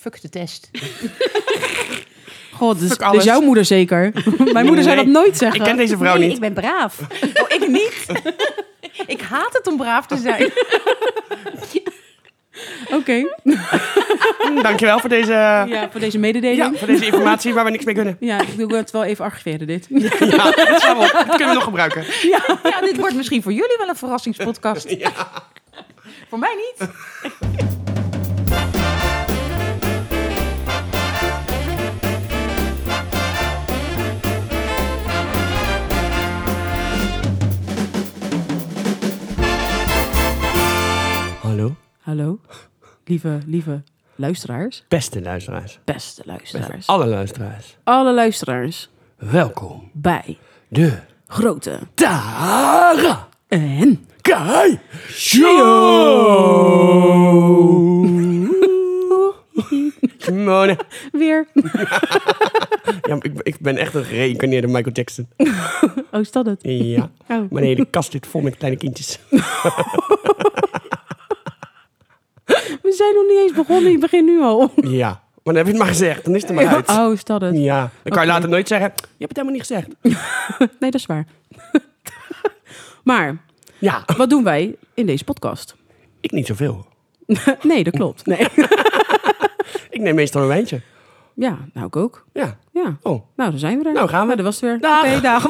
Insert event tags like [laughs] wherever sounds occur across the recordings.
Fuck de [laughs] test. God, dus, Fuck alles. dus jouw moeder [laughs] zeker. Mijn moeder zou dat Nee. nooit zeggen. Ik ken deze vrouw nee, niet. ik ben braaf. Oh, ik niet. [laughs] ik haat het om braaf te zijn. [laughs] Oké, Mm, Dankjewel voor deze, Nou. ja. ja, voor deze mededeling. Ja. voor deze informatie waar we niks mee kunnen. ik wil het wel even archiveren dit. [laughs] Ja, dat, zou wel- dat kunnen we nog gebruiken. Ja, dit wordt misschien voor jullie wel een [laughs] verrassingspodcast. Voor mij niet. Hallo. Hallo, lieve, lieve luisteraars. Beste luisteraars. Beste luisteraars. Alle luisteraars. Alle luisteraars Welkom. bij De Grote Tara en... Kai Show. Simone. Weer. Ja, maar ik, ik ben echt een gereïncarneerde Michael Jackson. Oh, is dat het? Ja. Oh. Mijn hele kast zit vol met kleine kindjes. We zijn nog niet eens begonnen, je begint nu [laughs] al. Ja. Maar dan heb je het maar gezegd. Dan is het er maar uit. Oh, is dat het? Ja. Dan kan Oké. je later nooit zeggen, je hebt het helemaal niet gezegd. Nee, dat is waar. [laughs] maar, Ja. wat doen wij in deze podcast? [laughs] Ik niet zoveel. nee, dat klopt. Nee. Ik neem meestal een wijntje. ja, nou ik ook. Ja. Ja. Oh. Nou, dan zijn we er. Nou, gaan we. Nou, dat was het weer. Dag. Oké, dag.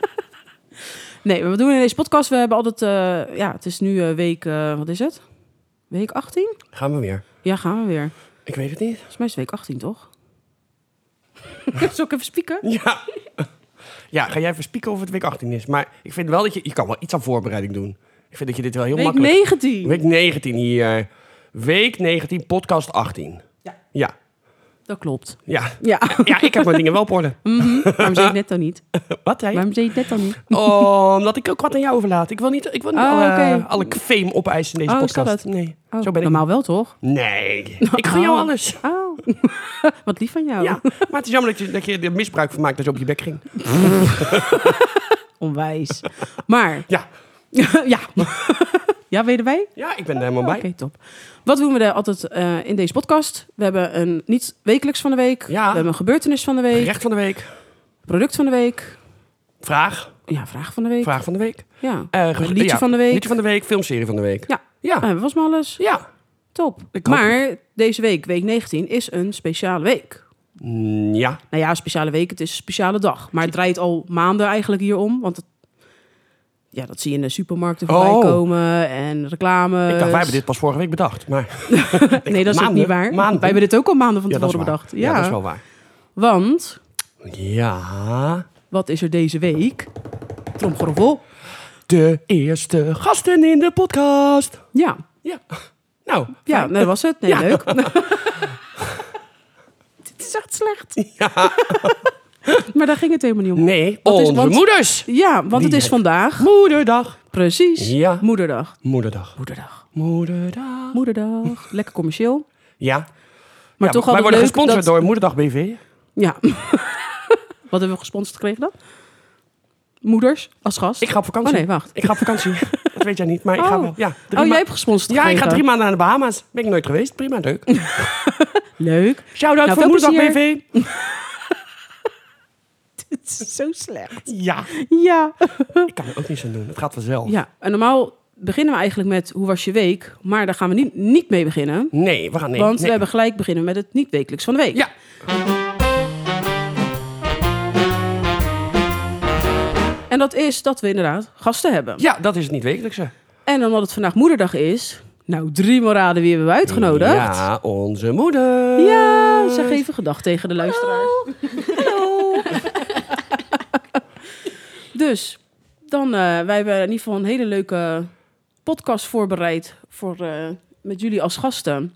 [laughs] nee, we doen in deze podcast. We hebben altijd. eh, ja, het is nu eh, week. eh, wat is het? Week 18? Gaan we weer. Ja, gaan we weer. Ik weet het niet. Volgens mij is het week 18, toch? Zal ik even spieken? Ja. [laughs] Ja, ga jij even spieken of het week 18 is. Maar ik vind wel dat je... Je kan wel iets aan voorbereiding doen. Ik vind dat je dit wel heel Week makkelijk... 19. Week 19 hier. Week 19, podcast 18. Ja. Ja. Dat klopt. Ja. Ja, Ja, ik heb mijn dingen wel op [laughs] orde. waarom zei je het net dan niet? Wat, hè? Waarom zei je het net dan niet? Omdat ik ook wat aan jou overlaat. Ik wil niet, ik wil niet Oh, alle, oké. alle fame opeisen in deze Oh, is dat podcast. het? Nee, Oh, zo ben ik. normaal wel, toch? [laughs] Nee, ik gun jou Oh. alles. Oh, [laughs] wat lief van jou. Ja, maar het is jammer dat je, dat je er misbruik van maakt dat je op je bek ging. Onwijs. Maar, Ja, [laughs] ja. ja, weten wij? ja ik ben er helemaal bij. Oh, Oké, top. Wat doen we er altijd eh, in deze podcast? We hebben een niet wekelijks van de week. Ja. We hebben een gebeurtenis van de week. Recht van de week. Product van de week. Vraag. Ja, vraag van de week. Vraag van de week. Ja. Eh, Een ge- liedje ja, van de week. Liedje van de week, filmserie van de week. Ja. Ja. Eh, was maar alles. Ja. Top. Ik hoop Maar deze week, week 19, is een speciale week. Mm, ja. Nou ja, een speciale week. Het is een speciale dag. Maar het draait al maanden eigenlijk hierom. Want het, ja, dat zie je in de supermarkten voorbij Oh. komen. En reclame. Ik dacht, wij hebben dit pas vorige week [laughs] bedacht. Maar Eh, Nee, dat is ook Maanden? niet waar. Maanden? Wij hebben dit ook al maanden van ja, dat is tevoren waar. bedacht. Ja. dat is wel waar. Want Ja. Wat is er deze week? Tromgeroffel. De eerste gasten in de podcast. Ja, Ja. Nou, ja nou, fijn. dat was het. Nee, [laughs] leuk. [laughs] Dit is echt slecht. [laughs] maar daar ging het helemaal niet om. Nee, Wat is- onze want- moeders. Ja, want het Die is heb- vandaag. Moederdag. Precies. Ja. Moederdag. Moederdag. Moederdag. Moederdag. Moederdag. Lekker commercieel. Ja. Maar Ja, toch wij altijd worden leuk gesponsord dat... door Moederdag BV. Ja. [laughs] Wat hebben we gesponsord gekregen dan? Moeders als gast. Ik ga op vakantie. Oh nee, wacht. Ik ga op [laughs] vakantie. dat weet jij niet, maar ik ga Oh. wel. Ja, drie Oh, ma- jij hebt gesponsord ja, ik ga gekregen. drie maanden naar de Bahama's. Ben ik nooit geweest. Prima, [laughs] leuk. [laughs] Leuk. Shout-out Nou, voor veel Moederdag BV. plezier. Het is zo slecht. Ja, Ja. ik kan er ook niets aan doen. Het gaat vanzelf. Ja, en normaal beginnen we eigenlijk met hoe was je week? Maar daar gaan we niet, niet mee beginnen. Nee, we gaan nee. want nee. we hebben gelijk beginnen met het niet-wekelijks van de week. Ja. En dat is dat we inderdaad gasten hebben. ja, dat is het niet wekelijkse. En omdat het vandaag moederdag is, nou drie moraden wie hebben we uitgenodigd? Ja, onze moeder. Ja, zeg even gedag tegen de luisteraars. Dus, dan, eh, wij hebben in ieder geval een hele leuke podcast voorbereid voor, eh, met jullie als gasten.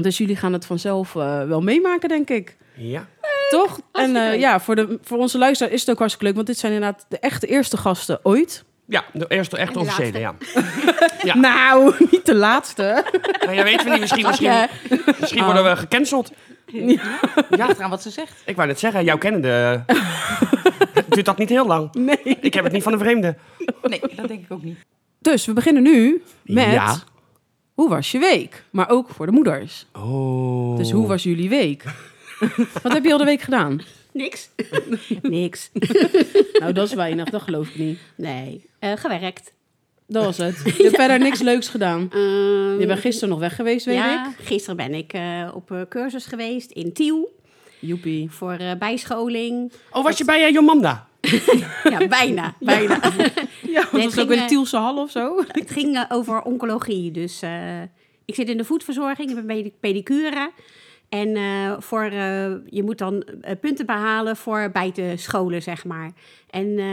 Dus jullie gaan het vanzelf eh, wel meemaken, denk ik. [laughs] Ja. Toch? En Hartstikke eh, leuk. ja, voor, de, voor onze luisteraar is het ook hartstikke leuk, want dit zijn inderdaad de echte eerste gasten ooit. Ja, de eerste echt de officiële, ja. Ja. Nou, [laughs] niet de laatste. Nou, ja, weten we niet, misschien, misschien, misschien worden Ah. we gecanceld. Ja, eraan wat ze zegt. Ik wou net zeggen, jouw [laughs] kennende duurt dat niet heel lang. Nee. Ik heb het niet van een vreemde. Nee, dat denk ik ook niet. Dus we beginnen nu met Ja. hoe Hoe was je week? Maar ook voor de moeders. Oh. Dus hoe was jullie [laughs] week? Wat heb je al de week gedaan? Niks. [laughs] Niks. Nou, dat is weinig, dat geloof ik niet. Nee. Eh, gewerkt. Dat was [laughs] het. Je hebt verder niks leuks gedaan. Ehm, Je bent gisteren nog weg geweest, weet ja, ik. gisteren ben ik eh, op eh, cursus geweest in Tiel Joepie. voor eh, bijscholing. Oh, was je bij eh, Jomanda? Ja, bijna. bijna. Ja, Nee, dat het is ook ging, weer de eh, Tielse hal of zo. Het ging eh, over oncologie. Dus eh, ik zit in de voetverzorging, ik ben pedi- pedicure. En eh, voor, eh, je moet dan eh, punten behalen voor bij de scholen, zeg maar. En eh,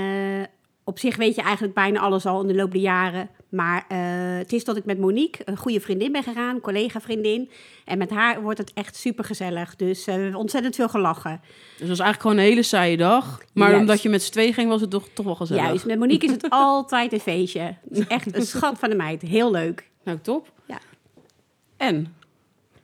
op zich weet je eigenlijk bijna alles al in de loop der jaren. Maar eh, het is dat ik met Monique, een goede vriendin, ben gegaan, een collega-vriendin. En met haar wordt het echt supergezellig. Dus eh, we hebben ontzettend veel gelachen. Dus het was eigenlijk gewoon een hele saaie dag. Maar Juist. omdat je met z'n twee ging, was het toch, toch wel gezellig. Juist, met Monique is het [laughs] altijd een feestje. Het is echt een schat van de meid. Heel leuk. Nou, top. Ja. En?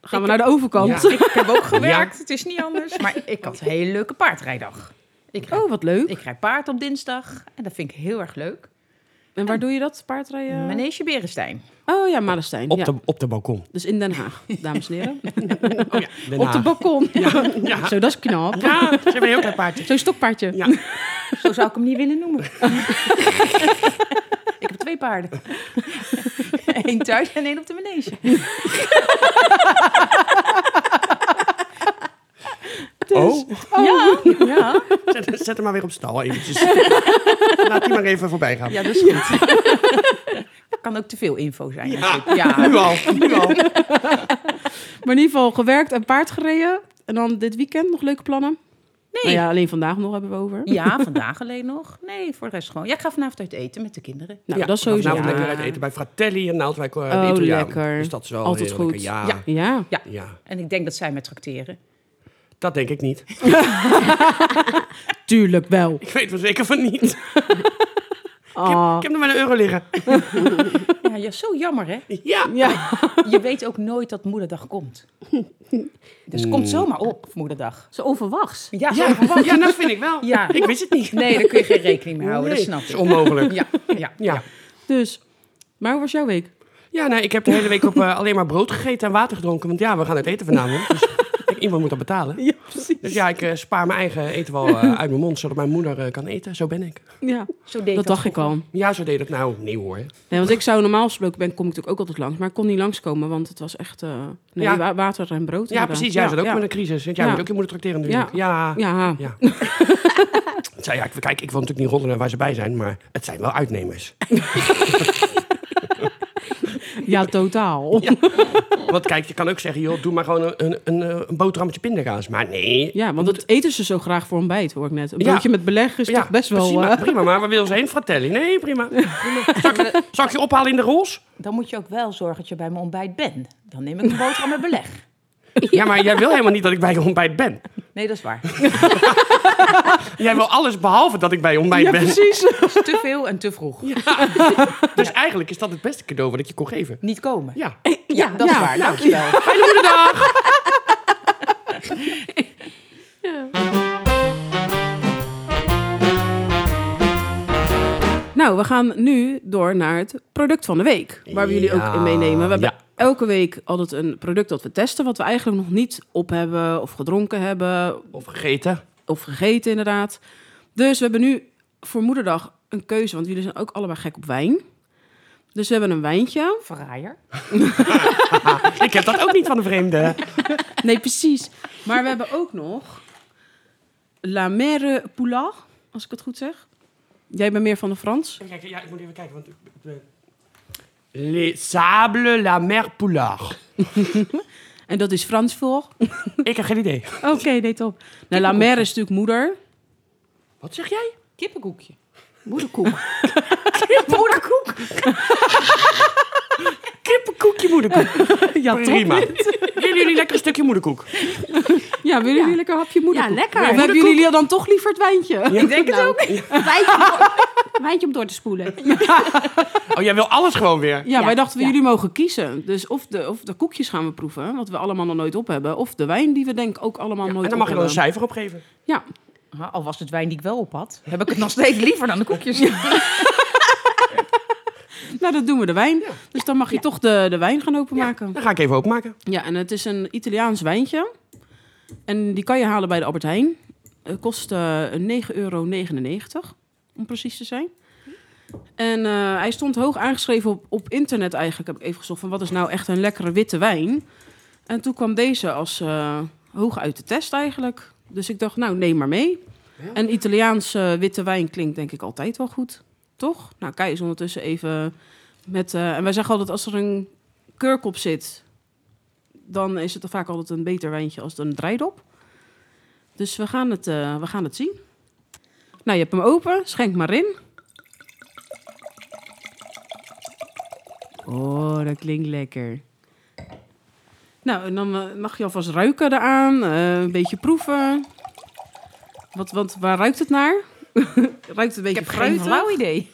Gaan we naar de overkant. Ja. Ik heb ook gewerkt, het is niet anders. Maar ik [laughs] had een hele leuke paardrijdag. Ik [laughs] rijd, Oh, wat leuk. ik rijd paard op dinsdag en dat vind ik heel erg leuk. En waar doe je dat, paardrijden? Manege Berestein. Oh ja, Malenstein. Op, ja. de, op de balkon. Dus in Den Haag, dames en [laughs] heren. Den Op de Haag. balkon. [laughs] Zo, dat is knap. Ja, ze hebben een heel klein paardje. Zo'n stokpaardje. Ja. Zo zou ik hem niet willen [laughs] noemen. ik heb twee paarden. [laughs] Eén thuis en één op de manege. Oh, Ja, ja. Dus zet, zet hem maar weer op stal eventjes. Laat die maar even voorbij gaan. ja, dat is goed. Dat [laughs] kan ook te veel info zijn. natuurlijk. ja. Nu al, nu al. Maar in ieder geval gewerkt en paard gereden. En dan dit weekend nog leuke plannen? Nee. Nou ja, alleen vandaag nog hebben we over. Ja, vandaag alleen nog. Nee, voor de rest gewoon. Ja, ik ga vanavond uit eten met de kinderen. Nou, Ja, dat is sowieso. vanavond ja. lekker uit eten bij Fratelli en Naaldwijk. eh, de Oh, Italiaan. lekker. Dus dat is wel Altijd heel lekker. goed. Ja, Ja. ja. Ja. En ik denk dat zij me tracteren. dat denk ik niet. [laughs] tuurlijk wel. Ik weet wel zeker van niet. Ik heb, Ah. ik heb er maar een euro liggen. [laughs] Ja, ja, zo jammer hè. Ja. Ja. Je weet ook nooit dat moederdag komt. Dus het Mm. komt zomaar op, moederdag. Zo onverwachts. Ja, zo Ja, verwacht. ja, dat vind ik wel. Ja. Ik wist het niet. Nee, daar kun je geen rekening mee houden. Nee, Dat is snap ik. onmogelijk. Ja, [laughs] ja. Ja, Dus, maar hoe was jouw week? ja nee, ik heb de hele week op eh, alleen maar brood gegeten en water gedronken. Want ja, we gaan uit eten vanavond. [laughs] Dus ik- iemand moet dat betalen. Ja, precies. Dus ja, ik eh, spaar mijn eigen eten [laughs] wel eh, uit mijn mond, zodat mijn moeder eh, kan eten. Zo ben ik. Ja, Zo deed dat dacht ik al. Ja, zo deed ik nou. Nee hoor. Nee, want ik zou normaal gesproken ben, kom ik natuurlijk ook altijd langs. Maar ik kon niet langskomen, want het was echt eh, nee, Ja. wa- water en brood. Ja, inderdaad. precies. Jij zit ook ja. met een crisis. Want Jij Ja. moet ook je moeder tracteren natuurlijk. Ja. ja. Ja, Ja. [laughs] Het zijn, ja, ik- kijk, ik wil natuurlijk niet Rotterdam waar ze bij zijn, maar het zijn wel [laughs] uitnemers. ja, [laughs] totaal. Ja, Want kijk, je kan ook zeggen, joh, doe maar gewoon een, een, een, eh, een boterhammetje pindakaas. Maar nee. want dat eten ze zo graag voor ontbijt, hoor ik net. Een Ja. broodje met beleg is Ja, toch best wel... prima, [laughs] eh, prima, maar waar wil ze heen? Fratelli? Nee, prima. prima. Zal, ik, zal ik je ophalen in de roze? Dan moet je ook wel zorgen dat je bij mijn ontbijt bent. Dan neem ik een boterham met beleg. Ja, maar jij wil helemaal niet dat ik bij je ontbijt ben. Nee, dat is waar. Jij wil alles behalve dat ik bij je ontbijt ja, ben. precies. [laughs] Dat is te veel en te vroeg. Dus eigenlijk is dat het beste cadeau wat ik je kon geven. Niet komen. Ja. Ja, dat is Ja. waar. Dankjewel. Nou, we gaan nu door naar het product van de week. Waar we jullie Ja. ook in meenemen. We hebben Ja. elke week altijd een product dat we testen. Wat we eigenlijk nog niet op hebben of gedronken hebben. Of gegeten. Of gegeten, inderdaad. Dus we hebben nu voor moederdag een keuze. Want jullie zijn ook allebei gek op wijn. Dus we hebben een [laughs] wijntje. Verraaier. Ik heb dat ook niet van de vreemde. Nee, precies. Maar we hebben ook nog La Mere Poulard. Als ik het goed zeg. Jij bent meer van de Frans. Even kijken, ja, ik moet even kijken, want... Les sables, la mer poulard. En dat is Frans voor. Ik heb geen idee. [laughs] Oké, nee, top. Nou, La Mer is natuurlijk moeder. Wat zeg jij? Kippenkoekje. Moederkoek. Moederkoek. Kippenkoekje moederkoek. [laughs] ja, top. Prima. Willen jullie lekker een stukje moederkoek? Ja, willen jullie lekker een hapje moeder? Ja, lekker. Of hebben jullie dan toch liever het wijntje? Ik denk Nou, Wijntje om door- wijntje om door te spoelen. Oh, jij wil alles gewoon weer? Ja, Ja, wij dachten, we ja. jullie mogen kiezen. Dus of de, of de koekjes gaan we proeven, wat we allemaal nog nooit op hebben. Of de wijn die we denk ik ook allemaal nooit En dan op mag je dan een hebben. cijfer opgeven. Ja, Ah, Al was het wijn die ik wel op had, heb ik het nog steeds liever dan de koekjes. Nou, dat doen we de wijn. Dus dan mag je toch de, de wijn gaan openmaken. Dan ga ik even openmaken. Ja, en het is een Italiaans wijntje. En die kan je halen bij de Albert Heijn. Het kost eh 9,99 euro, om precies te zijn. En eh, hij stond hoog aangeschreven op, op internet eigenlijk, heb ik even gezocht, van wat is nou echt een lekkere witte wijn. En toen kwam deze als eh, hoog uit de test eigenlijk. Dus ik dacht, nou, neem maar mee. En Italiaanse eh, witte wijn klinkt denk ik altijd wel goed, toch? Nou, Kai is ondertussen even met... eh, en wij zeggen altijd, als er een kurk op zit, dan is het er vaak altijd een beter wijntje als een draaidop. Dus we gaan, het, eh, we gaan het zien. Nou, je hebt hem open. Schenk maar in. Oh, dat klinkt lekker. Nou, en dan eh, mag je alvast ruiken eraan. eh, een beetje proeven. Wat, want waar ruikt het naar? [laughs] ruikt een Ik beetje heb geen fruitig? flauw idee.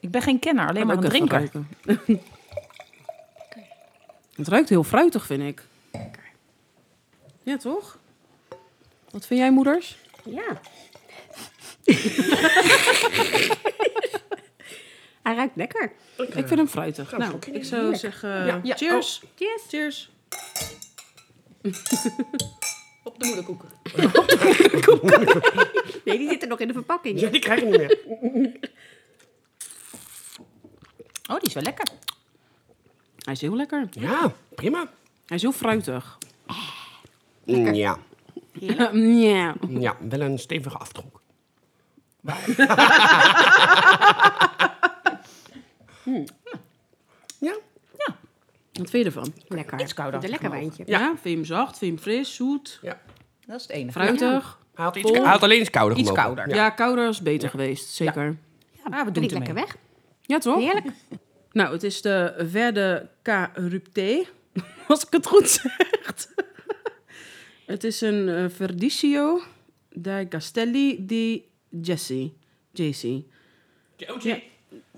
Ik ben geen kenner, alleen maar Kan een ook even drinker. ruiken. het ruikt heel fruitig, vind ik. Ja, toch? Wat vind jij, moeders? Ja. [laughs] Hij ruikt lekker. Ik eh, vind hem fruitig. Nou, ik zou zeggen eh, Ja. Oh. cheers. Yes. Cheers. Op de moederkoeken. [laughs] Nee, die zit er nog in de verpakking. Ja, die krijg je niet meer. Oh, die is wel lekker. Hij is heel lekker. Ja, prima. Hij is heel fruitig. Mm, Ja. [laughs] Ja. ja, wel een stevige [laughs] aftrok. Hmm. Ja, Wat vind je ervan? Lekker. Iets kouder. Een lekker wijntje. Ja. vind je hem zacht? Vind je hem fris? Zoet? ja. Dat is het enige. Fruitig? Hij had, iets, hij had alleen iets kouder Iets gemogen. kouder. Ja, Ja. kouder is beter geweest. Zeker. Ja, Ah, we Doe doen ik het lekker ermee. weg. toch? Heerlijk. Nou, het is de Verde K. Rupté. [laughs] Als ik het goed zeg. [laughs] het is een eh, Verdicchio dai Castelli di Jesse. JC.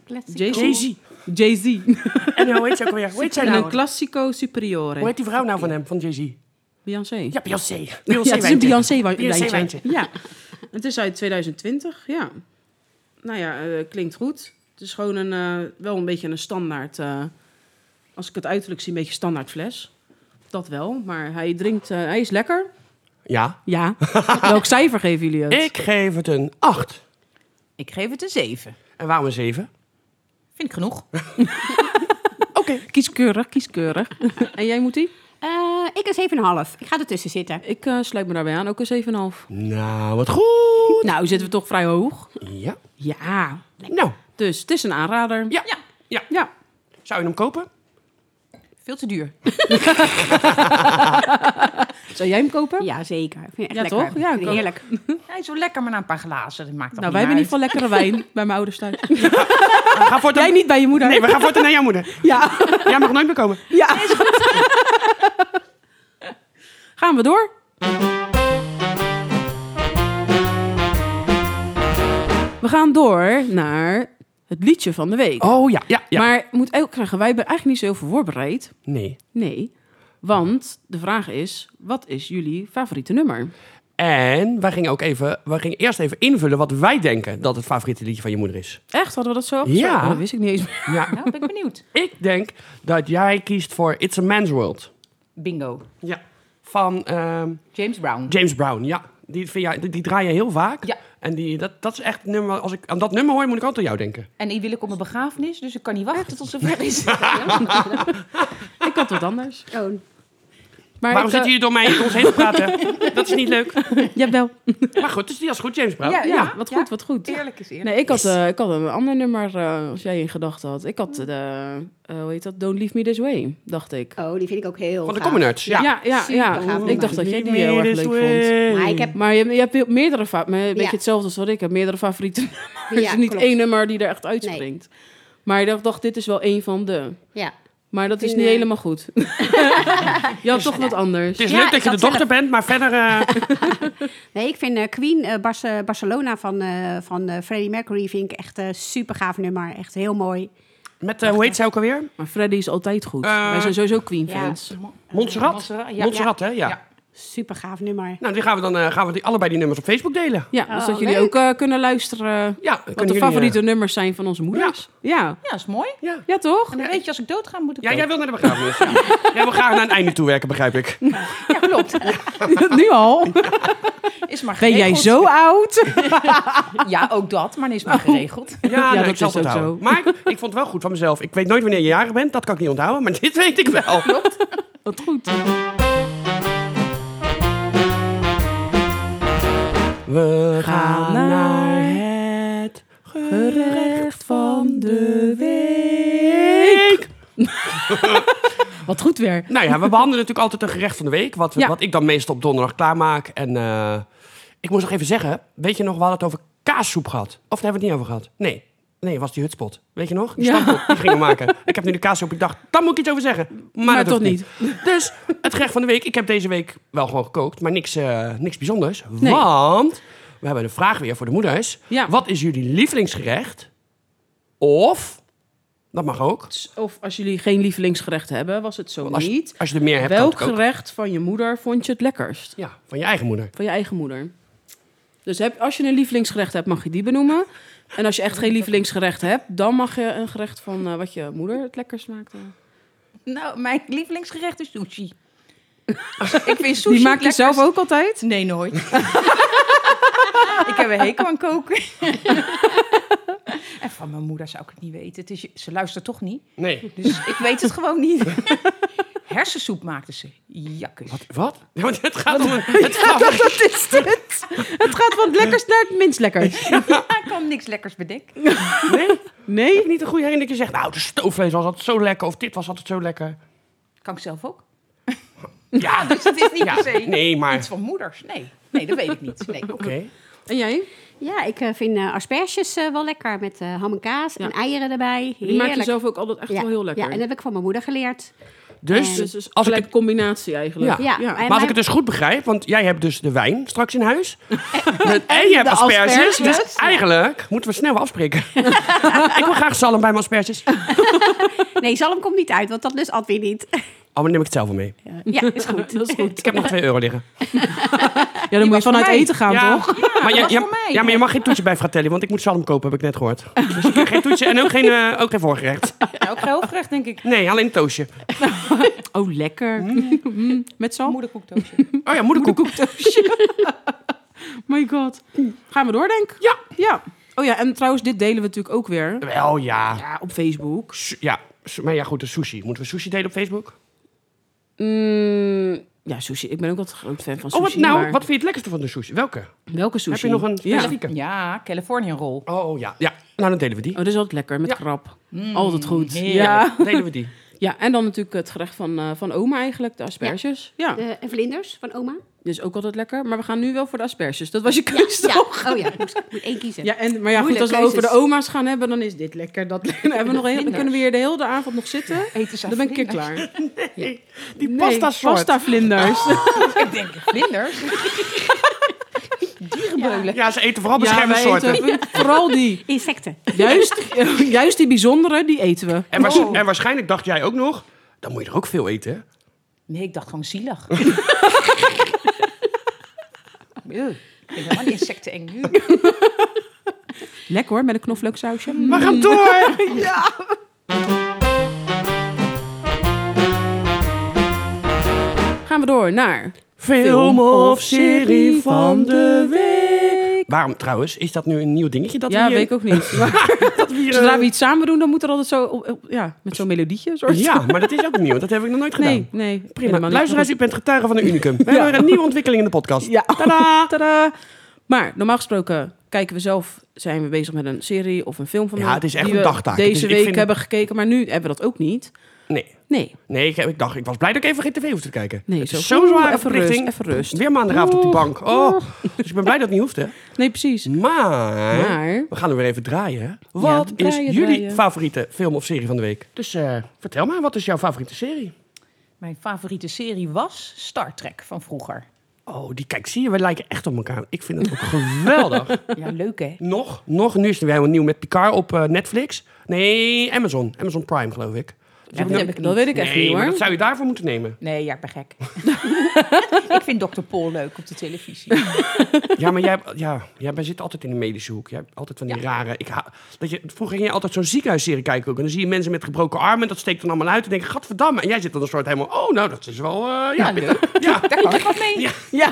Classico. JC. Jay-Z. En eh, hoe heet ze ook alweer? Hoe heet zij [laughs] En nou? een Classico Superiore. Hoe heet die vrouw nou van hem, van Jay-Z? Beyoncé. Ja, Beyoncé. Ja, het is een Beyoncé Beyoncé-wijntje. wijntje. Ja. [laughs] Het is uit 2020, ja. Nou ja, eh, klinkt goed. Het is gewoon een, eh, wel een beetje een standaard... eh, als ik het uiterlijk zie, een beetje standaard fles. Dat wel, maar hij drinkt... eh, hij is lekker. Ja. Ja. [laughs] Welk cijfer geven jullie het? Ik geef het een 8. Ik geef het een 7. En waarom een 7? Vind ik genoeg. Kieskeurig, kieskeurig. [laughs] en jij, moet die? Eh, ik een 7,5. Ik ga ertussen zitten. Ik eh, sluit me daarbij aan, ook een 7,5. Nou, wat goed. Nou, zitten we toch vrij hoog. Ja. Ja. Nou, Dus het is een aanrader. Ja. Ja. Ja. ja. zou je hem kopen? Veel te duur. Zou jij hem kopen? Ja, zeker. Ik Vind het echt Ja, lekker. toch? Ja, Ik vind het ik heerlijk. Hij is wel lekker, maar na een paar glazen. Dat maakt Nou, wij hebben in ieder geval lekkere wijn [laughs] bij mijn ouders thuis. We gaan voortaan... Jij niet bij je moeder. Nee, we gaan voortaan naar jouw moeder. Ja. Jij mag nooit meer komen. ja. [laughs] Gaan we door? We gaan door naar het liedje van de week. Oh ja, ja, ja. Maar moet ook zeggen, wij hebben eigenlijk niet zo heel veel voorbereid. Nee. Nee. Want de vraag is, wat is jullie favoriete nummer? En wij gingen ook even, wij gingen eerst even invullen wat wij denken dat het favoriete liedje van je moeder is. Echt? Hadden we dat zo? Ja. Oh, dat wist ik niet eens meer. Ja. Nou, ben ik benieuwd. Ik denk dat jij kiest voor It's a Man's World. Bingo. Ja. Van ehm, James Brown. James Brown, ja. Die, vind jij, die, die draai je heel vaak. Ja. En die, dat, dat is echt het nummer, als ik aan dat nummer hoor, moet ik altijd aan jou denken. En die wil ik op mijn begrafenis, dus ik kan niet wachten tot ze ver is. Ik had wat anders. Oh, Maar Waarom ik, eh, zit je hier door mij ons heen te praten? [laughs] dat is niet leuk. Jawel. Maar goed, dus die is goed, James Brown. Ja. Ja, wat goed, wat goed. [laughs] Eerlijk is eerlijk. Nee, ik had, eh, ik had een ander nummer eh, als jij in gedachten had. Ik had, eh, de, eh, hoe heet dat? Don't Leave Me This Way, dacht ik. die vind ik ook heel Van de gaaf. Commonards, ja. ja, ja. Oh, Super ja. gaaf Ik dacht nummer. dat jij die eh, heel erg leuk vond. Maar ik heb... Maar je, je hebt heel- meerdere fa- maar een beetje Ja. hetzelfde als wat ik heb. Meerdere favorieten. Er is Ja, niet klopt. één nummer die er echt uitspringt. Maar ik dacht, dacht, dit is wel één van de. Ja. Maar dat is Vind, niet eh, helemaal goed. [laughs] je had toch wat anders. Het is Ja, leuk dat ik je de had dochter bent, maar verder... eh, Nee, ik vind eh, Queen eh, Bas- eh, Barcelona van, eh, van eh, Freddie Mercury vind ik echt een super gaaf nummer. Echt heel mooi. met, eh, hoe heet zij ook alweer? Maar Freddy is altijd goed. Eh, Wij zijn sowieso Queen ja. fans. Montserrat? Montserrat, ja. Montserrat, hè? Ja. Ja. Super gaaf nummer. Nou, die gaan we dan eh, gaan we die, allebei die nummers op Facebook delen. Ja, Oh, dus dat jullie leuk. ook eh, kunnen luisteren Ja, wat de favoriete eh, nummers zijn van onze moeders. Ja, ja. Ja, is mooi. Ja. toch? [laughs] En dan weet je, als ik dood ga, moet ik ja, dood. jij wil naar de begrafenis. Ja. jij wil graag naar een einde toe werken, begrijp ik. Ja, klopt. nu al. Is maar [laughs] Ben jij geregeld. zo Oh. oud? Ja, ook dat, maar is maar geregeld. [laughs] Ja, nou, dat ik zal is het ook houden. Maar ik, ik vond het wel goed van mezelf. Ik weet nooit wanneer je jarig bent, dat kan ik niet onthouden, maar [laughs] dit weet ik wel. Wat goed. We gaan naar het Gerecht van de week. Wat goed weer. Nou ja, we behandelen natuurlijk altijd een gerecht van de week. Wat, we- Ja. wat ik dan meestal op donderdag klaarmaak. En eh, ik moest nog even zeggen, weet je nog, we hadden het over kaassoep gehad. Of daar hebben we het niet over gehad. Nee, nee, was die hutspot. Weet je nog? Die Ja. stamppot die gingen we maken. Ik heb nu de kaassoep, ik dacht, daar moet ik iets over zeggen. Maar, Maar dat toch hoeft Dus het gerecht van de week, ik heb deze week wel gewoon gekookt. Maar niks, eh, niks bijzonders. Nee. Want we hebben een vraag weer voor de moeders. Ja. Wat is jullie lievelingsgerecht? Of, dat mag ook. Of als jullie geen lievelingsgerecht hebben, was het zo Als, niet. als je er meer hebt, kan Welk het ook. gerecht van je moeder vond je het lekkerst? Ja, van je eigen moeder. Van je eigen moeder. Dus heb, als je een lievelingsgerecht hebt, mag je die benoemen. En als je echt geen lievelingsgerecht hebt, dan mag je een gerecht van eh, wat je moeder het lekkerst maakte. Nou, mijn lievelingsgerecht is [laughs] sushi. ik vind sushi Die maak je het zelf ook lekkerst. altijd? Nee, [laughs] nooit. ik heb een hekel aan koken. en van mijn moeder zou ik het niet weten. Het is, ze luistert toch niet. Nee. Dus ik weet het gewoon [laughs] niet. Hersensoep maakte ze. Jakkes. Wat? Wat? Ja, want het gaat om een... Het gaat, Wat is dit? Het gaat van het lekkerst naar het minst lekkerst. Ah, Ik kan niks lekkers bedenken. nee? Ik Nee? heb niet een goede herinnering dat je zegt... Nou, de stoofvlees was altijd zo lekker. Of dit was altijd zo lekker. Kan ik zelf ook. [laughs] Ja, Dus het is niet ja. [laughs] per se Nee, maar... iets van moeders. Nee, nee dat weet ik niet. Nee. Oké. En jij? Ja, ik eh, vind eh, asperges eh, wel lekker met eh, ham en kaas en Ja. eieren erbij. Die maak je Heerlijk. zelf ook altijd echt ja. wel heel lekker. Ja, en dat heb ik van mijn moeder geleerd. Dus, Dus, dus als ik gelijk het... combinatie eigenlijk. Ja. Ja, en Maar als ik mijn- het dus goed begrijp, want jij hebt dus de wijn straks in huis. En, en je hebt asperges. Dus asperges. eigenlijk moeten we snel afspreken. ik wil graag zalm bij mijn asperges. Oh, Nee, zalm komt niet uit, want dat lust Adwin niet. Oh, maar dan neem ik het zelf wel mee. Ja, [laughs] is goed. Dat is goed. Ik heb nog 2 euro liggen. Ja, dan moet je was voor vanuit mij. eten gaan, toch? maar, je, was je- voor mij. ja, maar je mag geen toetje bij Fratelli, want ik moet zalm kopen, heb ik net gehoord. Dus ik krijg geen toetje en ook geen, eh, ook geen voorgerecht. Nou, ook gehoofdgerecht denk ik. Nee, alleen een toosje. Oh, lekker. Mm. Met zalm? Moederkoekdoosje. Oh ja, moederkoek. My god. Gaan we door, denk ik? Ja. Ja. Oh ja, en trouwens, dit delen we natuurlijk ook weer. Wel ja. Ja, op Facebook. Su- Ja, su- maar ja goed, de sushi. Moeten we sushi delen op Facebook? Mm, ja, sushi. Ik ben ook altijd een groot fan van oh, sushi. wat nou? maar Wat vind je het lekkerste van de sushi? Welke? Welke sushi? Heb je nog een Ja. specifieke? Ja, Californian roll. Oh ja. ja, nou dan delen we die. Oh, dat is altijd lekker, met Ja. krab. altijd goed. heerlijk. Ja. Dan delen we die. ja, en dan natuurlijk het gerecht van, eh, van oma eigenlijk, de asperges. Ja. Eh, en vlinders van oma. dat is ook altijd lekker. Maar we gaan nu wel voor de asperges. Dat was je Ja, keuze, ja. toch? Oh ja, ik moest, ik moet één kiezen. Ja, en, maar ja, goed, Moeilijk, als we over de keuzes. oma's gaan hebben, dan is dit lekker. Dat, [laughs] dan, hebben we nog heel, dan kunnen we hier de hele avond nog zitten. Eten ze Dan ben ik een keer vlinders? klaar. Die Nee, pasta soort. Pasta vlinders. Ik denk [laughs] vlinders. Dierenbeulen. Ja, ze eten vooral beschermde wij soorten. eten vooral die. Insecten. Juist, [laughs] juist die bijzondere, die eten we. En, waars- Oh. en waarschijnlijk dacht jij ook nog, dan moet je er ook veel eten. hè? Mm. Nee, ik dacht gewoon zielig. Eeuw, Ik vind helemaal niet insecten eng nu. Lekker hoor, met een knoflooksausje. We gaan door! [laughs] Gaan we door naar... Film of serie van de week. Waarom trouwens? Is dat nu een nieuw dingetje dat ja, we hier... weet ik ook niet. Maar dat we hier, eh, zodra we iets samen doen, dan moet er altijd zo... op- op- ja, met zo'n melodietje. Soort. Ja, maar dat is ook nieuw. Dat heb ik nog nooit gedaan. Nee, nee. Prima. Luisteraars, u bent getuige van een unicum. We Ja. hebben weer een nieuwe ontwikkeling in de podcast. Ja. [laughs] Tadaa. Tadaa. Maar normaal gesproken kijken we zelf, zijn we bezig met een serie of een film van Ja, ons het is echt die een we dagtaak. Dus Deze ik week vind- hebben gekeken, maar nu hebben we dat ook niet. Nee. Nee. Nee, ik, ik dacht, ik was blij dat ik even geen tv hoefde te kijken. Nee, het zo. is zo'n zware Even rust, verplichting. even rust. Weer maandagavond op die bank. Oh, dus ik ben blij dat het niet hoeft, hè. Nee, precies. Maar, Maar- we gaan er weer even draaien. hè. Wat draaien, is jullie draaien. favoriete film of serie van de week? Dus eh, vertel maar, wat is jouw favoriete serie? Mijn favoriete serie was Star Trek van vroeger. Oh, die kijk, zie je, we lijken echt op elkaar. Ik vind het ook [laughs] geweldig. Ja, leuk hè? Nog, nog, nu is het weer helemaal nieuw met Picard op eh, Netflix. Nee, Amazon. Amazon Prime, geloof ik. Ja, dat, heb ik, dat weet ik echt nee, niet maar dat hoor. zou je daarvoor moeten nemen. Nee, ja, ik ben gek. ik vind Dr. Paul leuk op de televisie. Ja, maar jij, ja, jij bent- zit altijd in de medische hoek. Jij hebt altijd van die rare... Ik ha- dat je, vroeger ging je altijd zo'n ziekenhuisserie kijken ook. En dan zie je mensen met gebroken armen. En dat steekt dan allemaal uit. En denk je, gadverdamme. En jij zit dan een soort helemaal... Oh, nou, dat is wel... eh, ja, Ja, leuk. ja. Daar kan ik wat mee. Ja.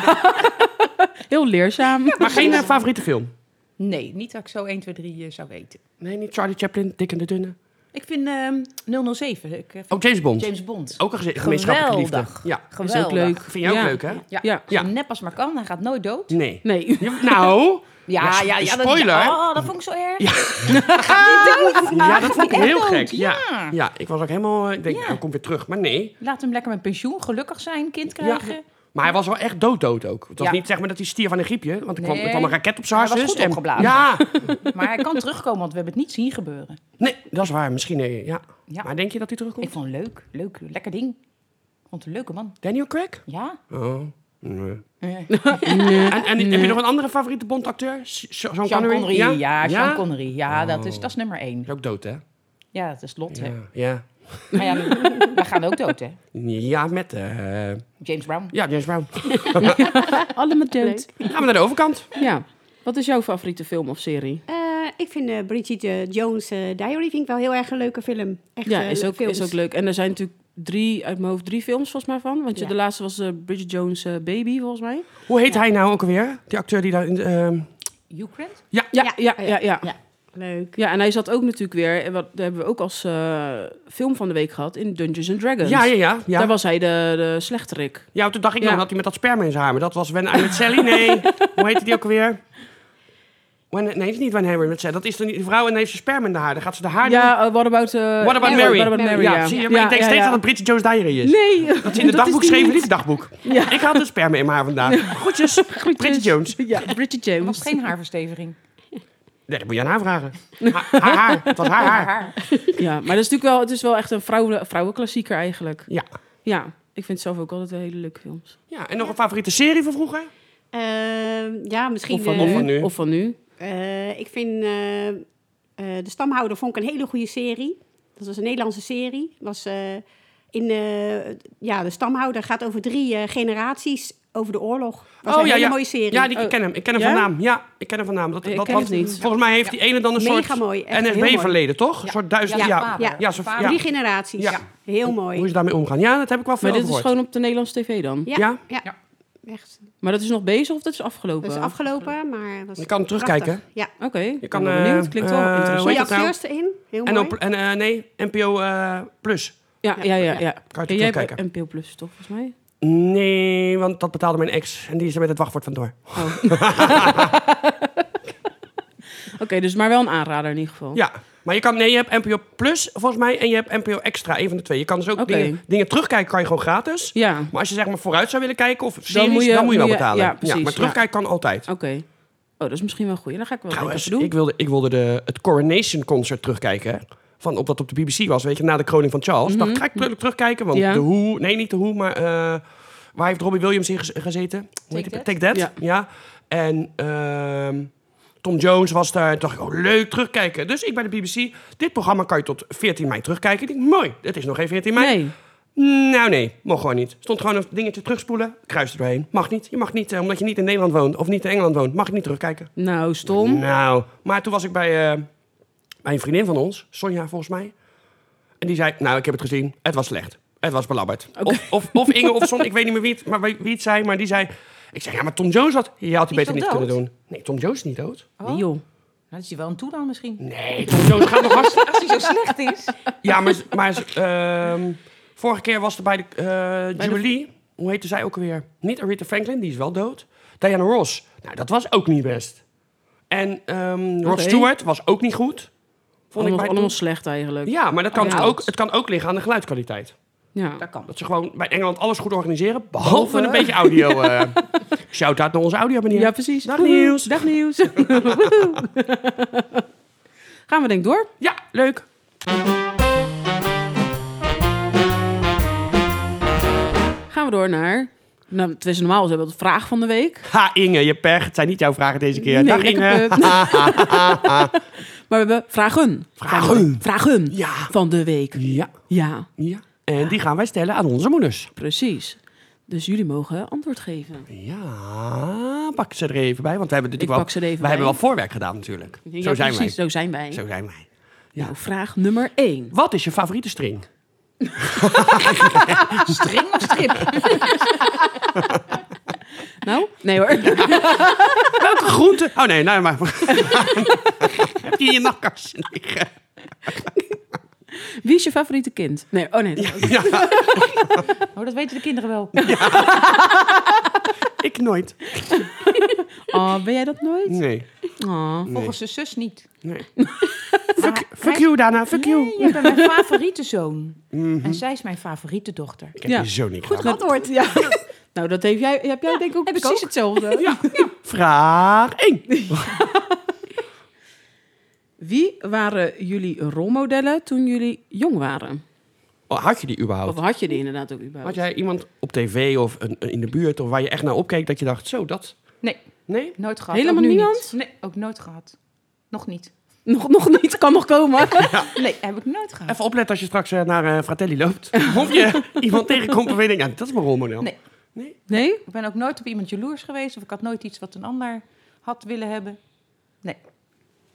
Heel leerzaam. Maar geen eh, favoriete film? Nee, niet dat ik zo 1, 2, 3 eh, zou weten. Nee, niet Charlie Chaplin, Dick en de Dunne. Ik vind ehm 007, ik, eh, Ook Oh, James Bond. James Bond. Ook een geze- gemeenschappelijke liefde. Geweldig. Ja. Geweldig. Is ook leuk. Vind je ook Ja. leuk, hè? Ja, Ja. Zo nep als maar kan. Hij gaat nooit dood. Nee. Nee. Ja, nou... Ja, s- ja, ja. dat- Spoiler. oh, dat vond ik zo erg. Ja. Ja, dat vond ik heel gek. Ja. ja. ik was ook helemaal... eh, Ik denk, Ja. hij komt weer terug. Maar nee. [laughs] Laat hem lekker met pensioen, gelukkig zijn, kind krijgen. Maar hij was wel echt dooddood ook. Het was Ja. niet zeg maar dat hij stier van een griepje. Want er kwam, er Nee. kwam een raket op zijn Hij was hartjes. goed opgeblazen. [laughs] Ja. Maar hij kan terugkomen, want we hebben het niet zien gebeuren. Nee, dat is waar. Misschien nee. Ja. Ja. Maar denk je dat hij terugkomt? Ik vond het leuk, leuk, lekker ding. Ik vond het een leuke man. Daniel Craig? Ja. Oh. Nee. Eh, En, en heb je nog een andere favoriete Bondacteur? S- Sean, Sean Connery? Connery, ja, Sean Ja? Connery. Ja, dat, is, dat is nummer één. Is ook dood, hè? Ja, dat is Lot. hè. Ja. Ja, Maar ja, [laughs] we gaan ook dood, hè? Ja, met... eh, James Brown. ja, James Brown. Allemaal dood. Gaan we naar de overkant. Ja. Wat is jouw favoriete film of serie? Eh, ik vind eh, Bridget eh, Jones' eh, Diary vind ik wel heel erg een leuke film. Echt, Ja, eh, is ook, films. is ook leuk. En er zijn natuurlijk drie, uit mijn hoofd, drie films volgens mij van. Want je Ja. de laatste was eh, Bridget Jones' eh, Baby, volgens mij. Hoe heet hij nou ook alweer? Die acteur die daar... in de, ehm, You Grant? Ja, ja, ja, ja. Ja. Leuk. Ja, en hij zat ook natuurlijk weer, en wat, dat hebben we ook als eh, film van de week gehad, in Dungeons and Dragons. Ja, ja, ja. ja. Daar was hij de, de slechterik. Ja, toen dacht ik Ja. nog dat hij met dat sperma in zijn haar... maar dat was When I'm with Sally. Nee, hoe heette die ook alweer? When, nee, het is niet When Harry met Sally. Dat is dan die vrouw en dan heeft ze sperma in de haar. Dan gaat ze de haar... doen. Ja, eh, What About... eh, What About ja, Mary? What About Mary, ja. ja, zie je? Maar Ja, ik denk ja, steeds ja. dat het Bridget Jones Diary is. Nee. [laughs] Dat ze in het dagboek schreven, niet het dagboek. Ik had een sperma in mijn haar vandaag. [laughs] Groetjes, Bridget Jones. dus- Ja, Bridget Er was Jones. geen haarversteviging. Nee, dat moet je aan haar vragen. Ha- haar, haar. Het was haar haar. Haar. [laughs] Ja, maar dat is natuurlijk wel, het is wel echt een vrouwen, vrouwenklassieker eigenlijk. Ja. Ja, ik vind het zelf ook altijd een hele leuke films. ja. En nog een favoriete serie van vroeger? Eh, ja, misschien... Of van, eh, nu, van nu. Of van nu. eh, ik vind... eh, eh, de Stamhouder vond ik een hele goede serie. Dat was een Nederlandse serie. Was, eh, in, eh, ja, de Stamhouder gaat over drie eh, generaties over de oorlog. Was een hele mooie serie. Oh, Ja, die, ik Oh. ken hem. Ik ken hem Ja? van naam. Ja, ik ken hem van naam. Dat, Ik dat ken was, het niet. Volgens mij heeft die ene dan een Mega soort mooi. Echt heel mooi. NSB-verleden, toch? Een soort duizend... Ja, Ja, ja, vader. ja, Ja, zo- vader. ja. Drie generaties. Ja. Heel Hoe mooi. is daarmee omgaan? Ja, dat heb ik wel veel Maar dit over is gehoord. gewoon op de Nederlandse tv dan. Ja? ja. Ja. Echt. Maar dat is nog bezig of dat is afgelopen? Dat is afgelopen, maar... dat was Je kan hem prachtig. terugkijken. Ja. Oké, ik ben kan, wel benieuwd. eh, Klinkt wel eh, hoe interessant. Mooie heet dat nou? acteurs erin. Heel mooi. En, op, en eh, nee, NPO eh, Plus. Ja, ja, ja. ja. Kan je Ja, het jij hebt terugkijken. NPO Plus toch, volgens [laughs] mij? Nee, want dat betaalde mijn ex. En die is er met het wachtwoord vandoor. Oh. [laughs] Oké, dus maar wel een aanrader in ieder geval. Ja, maar je kan... Nee, je hebt NPO Plus volgens mij en je hebt NPO Extra. Een van de twee. Je kan dus ook Oké. dingen, dingen terugkijken, kan je gewoon gratis. Ja, Maar als je zeg maar vooruit zou willen kijken of series, dan moet moet je, je- wel moet je- betalen. ja, precies, maar terugkijken kan altijd. oké. Oh, dat is misschien wel een goeie. Dan ga ik wel Trouwens, even doen. ik wilde, ik wilde de, het Coronation Concert terugkijken. hè. Van op dat op de BBC was, weet je, na de kroning van Charles. Dacht ik, ga ik terug- terugkijken, want Mhm. Ja. de hoe, nee, niet de hoe, maar eh, waar heeft Robbie Williams in gez- gezeten? Hoe heet Take het? Take That. Ja. Ja. En ehm, Tom Jones was daar. En dacht ik, oh, leuk terugkijken. Dus ik bij de BBC, dit programma kan je tot 14 mei terugkijken. Ik denk, mooi, het is nog geen 14 mei. Nee, Nou nee, mocht gewoon niet. Stond gewoon een dingetje terugspoelen, kruis er doorheen. Mag niet. Je mag niet, eh, omdat je niet in Nederland woont of niet in Engeland woont, mag je niet terugkijken. nou stom. Nou, maar toen was ik bij, eh, bij een vriendin van ons, Sonja volgens mij. En die zei, nou, ik heb het gezien, het was slecht. Het was belabberd. Of, of, of Inge of Son, ik weet niet meer wie het, maar wie wie het zei, maar die zei... Ik zei, ja, maar Tom Jones had... Je had hij Is beter niet Tom kunnen dood? doen. Nee, Tom Jones is niet dood. Oh, Nee, nou, joh. dat is hij wel een toe dan misschien. Nee, Tom Jones gaat nog hard. Als hij zo slecht [laughs] is. Ja, maar... maar ehm, vorige keer was er bij de eh, Bij de- Jubilee... Hoe heette zij ook alweer? Niet Aretha Franklin, die is wel dood. Diana Ross. Nou, dat was ook niet best. En ehm Rod Oké. Stewart was ook niet goed. Vond ik Allemaal, bij allemaal Tom- slecht eigenlijk. Ja, maar dat kan Ja. dus ook, het kan ook liggen aan de geluidskwaliteit. Ja. Dat kan. Dat ze gewoon bij Engeland alles goed organiseren, behalve, Behalve- een beetje audio. eh [laughs] Shout-out naar onze audio meneer. Ja, precies. Dag nieuws. Dag [laughs] nieuws. Woehoe. [laughs] Gaan we denk ik door? Ja, leuk. Gaan we door naar Nou, het is normaal, ze hebben de vraag van de week. Ha, Inge, je pech. Het zijn niet jouw vragen deze keer. Nee, Dag, lekker Inge. [laughs] punt. [laughs] Maar we hebben vragen. Vragen. Vragen Ja. van de week. Ja, Ja, ja. En die gaan wij stellen aan onze moeders. precies. Dus jullie mogen antwoord geven. Ja, pak ze er even bij. Want we hebben Ik natuurlijk pak ze wel, er even wij bij. hebben wel voorwerk gedaan natuurlijk. Ja, Zo zijn precies, Zo zijn wij. wij. Zo zijn wij. Nou, vraag nummer 1. Wat is je favoriete string? [laughs] String of strip? Nou, nee hoor. Welke groente? Oh nee, nou maar. [laughs] Heb je in je nachtkastje liggen? [laughs] Wie is je favoriete kind? Nee, oh nee. Ja, Oh, dat weten de kinderen wel. [laughs] ik nooit. Oh, ben jij dat nooit? Nee. Oh. Volgens de zus niet. [laughs] nee. fuck, fuck you, Dana. Fuck you. Mhm. Nee, jij bent mijn favoriete zoon. En zij is mijn favoriete dochter. Ik heb Ja. je zo niet Goed gedaan. geantwoord. Ja. [laughs] Nou, dat heb jij, heb jij denk ik ook heb ik precies ook. hetzelfde. Vraag 1. Wie waren jullie rolmodellen toen jullie jong waren? Oh, had je die Of überhaupt? had je die inderdaad ook überhaupt? Had jij iemand op tv of een, een- in de buurt of waar je echt naar opkeek dat je dacht, zo dat? Nee, Nee? nooit gehad. Helemaal Ook nu niemand? niet. Nee, ook nooit gehad. Nog niet. Nog, nog niet, kan nog komen. [laughs] Nee, heb ik nooit gehad. Even opletten als je straks eh, naar eh, Fratelli loopt. [laughs] Of je iemand tegenkomt en je denkt, ja, dat is mijn rolmodel. Nee. Nee? Ik ben ook nooit op iemand jaloers geweest. Of ik had nooit iets wat een ander had willen hebben. Nee.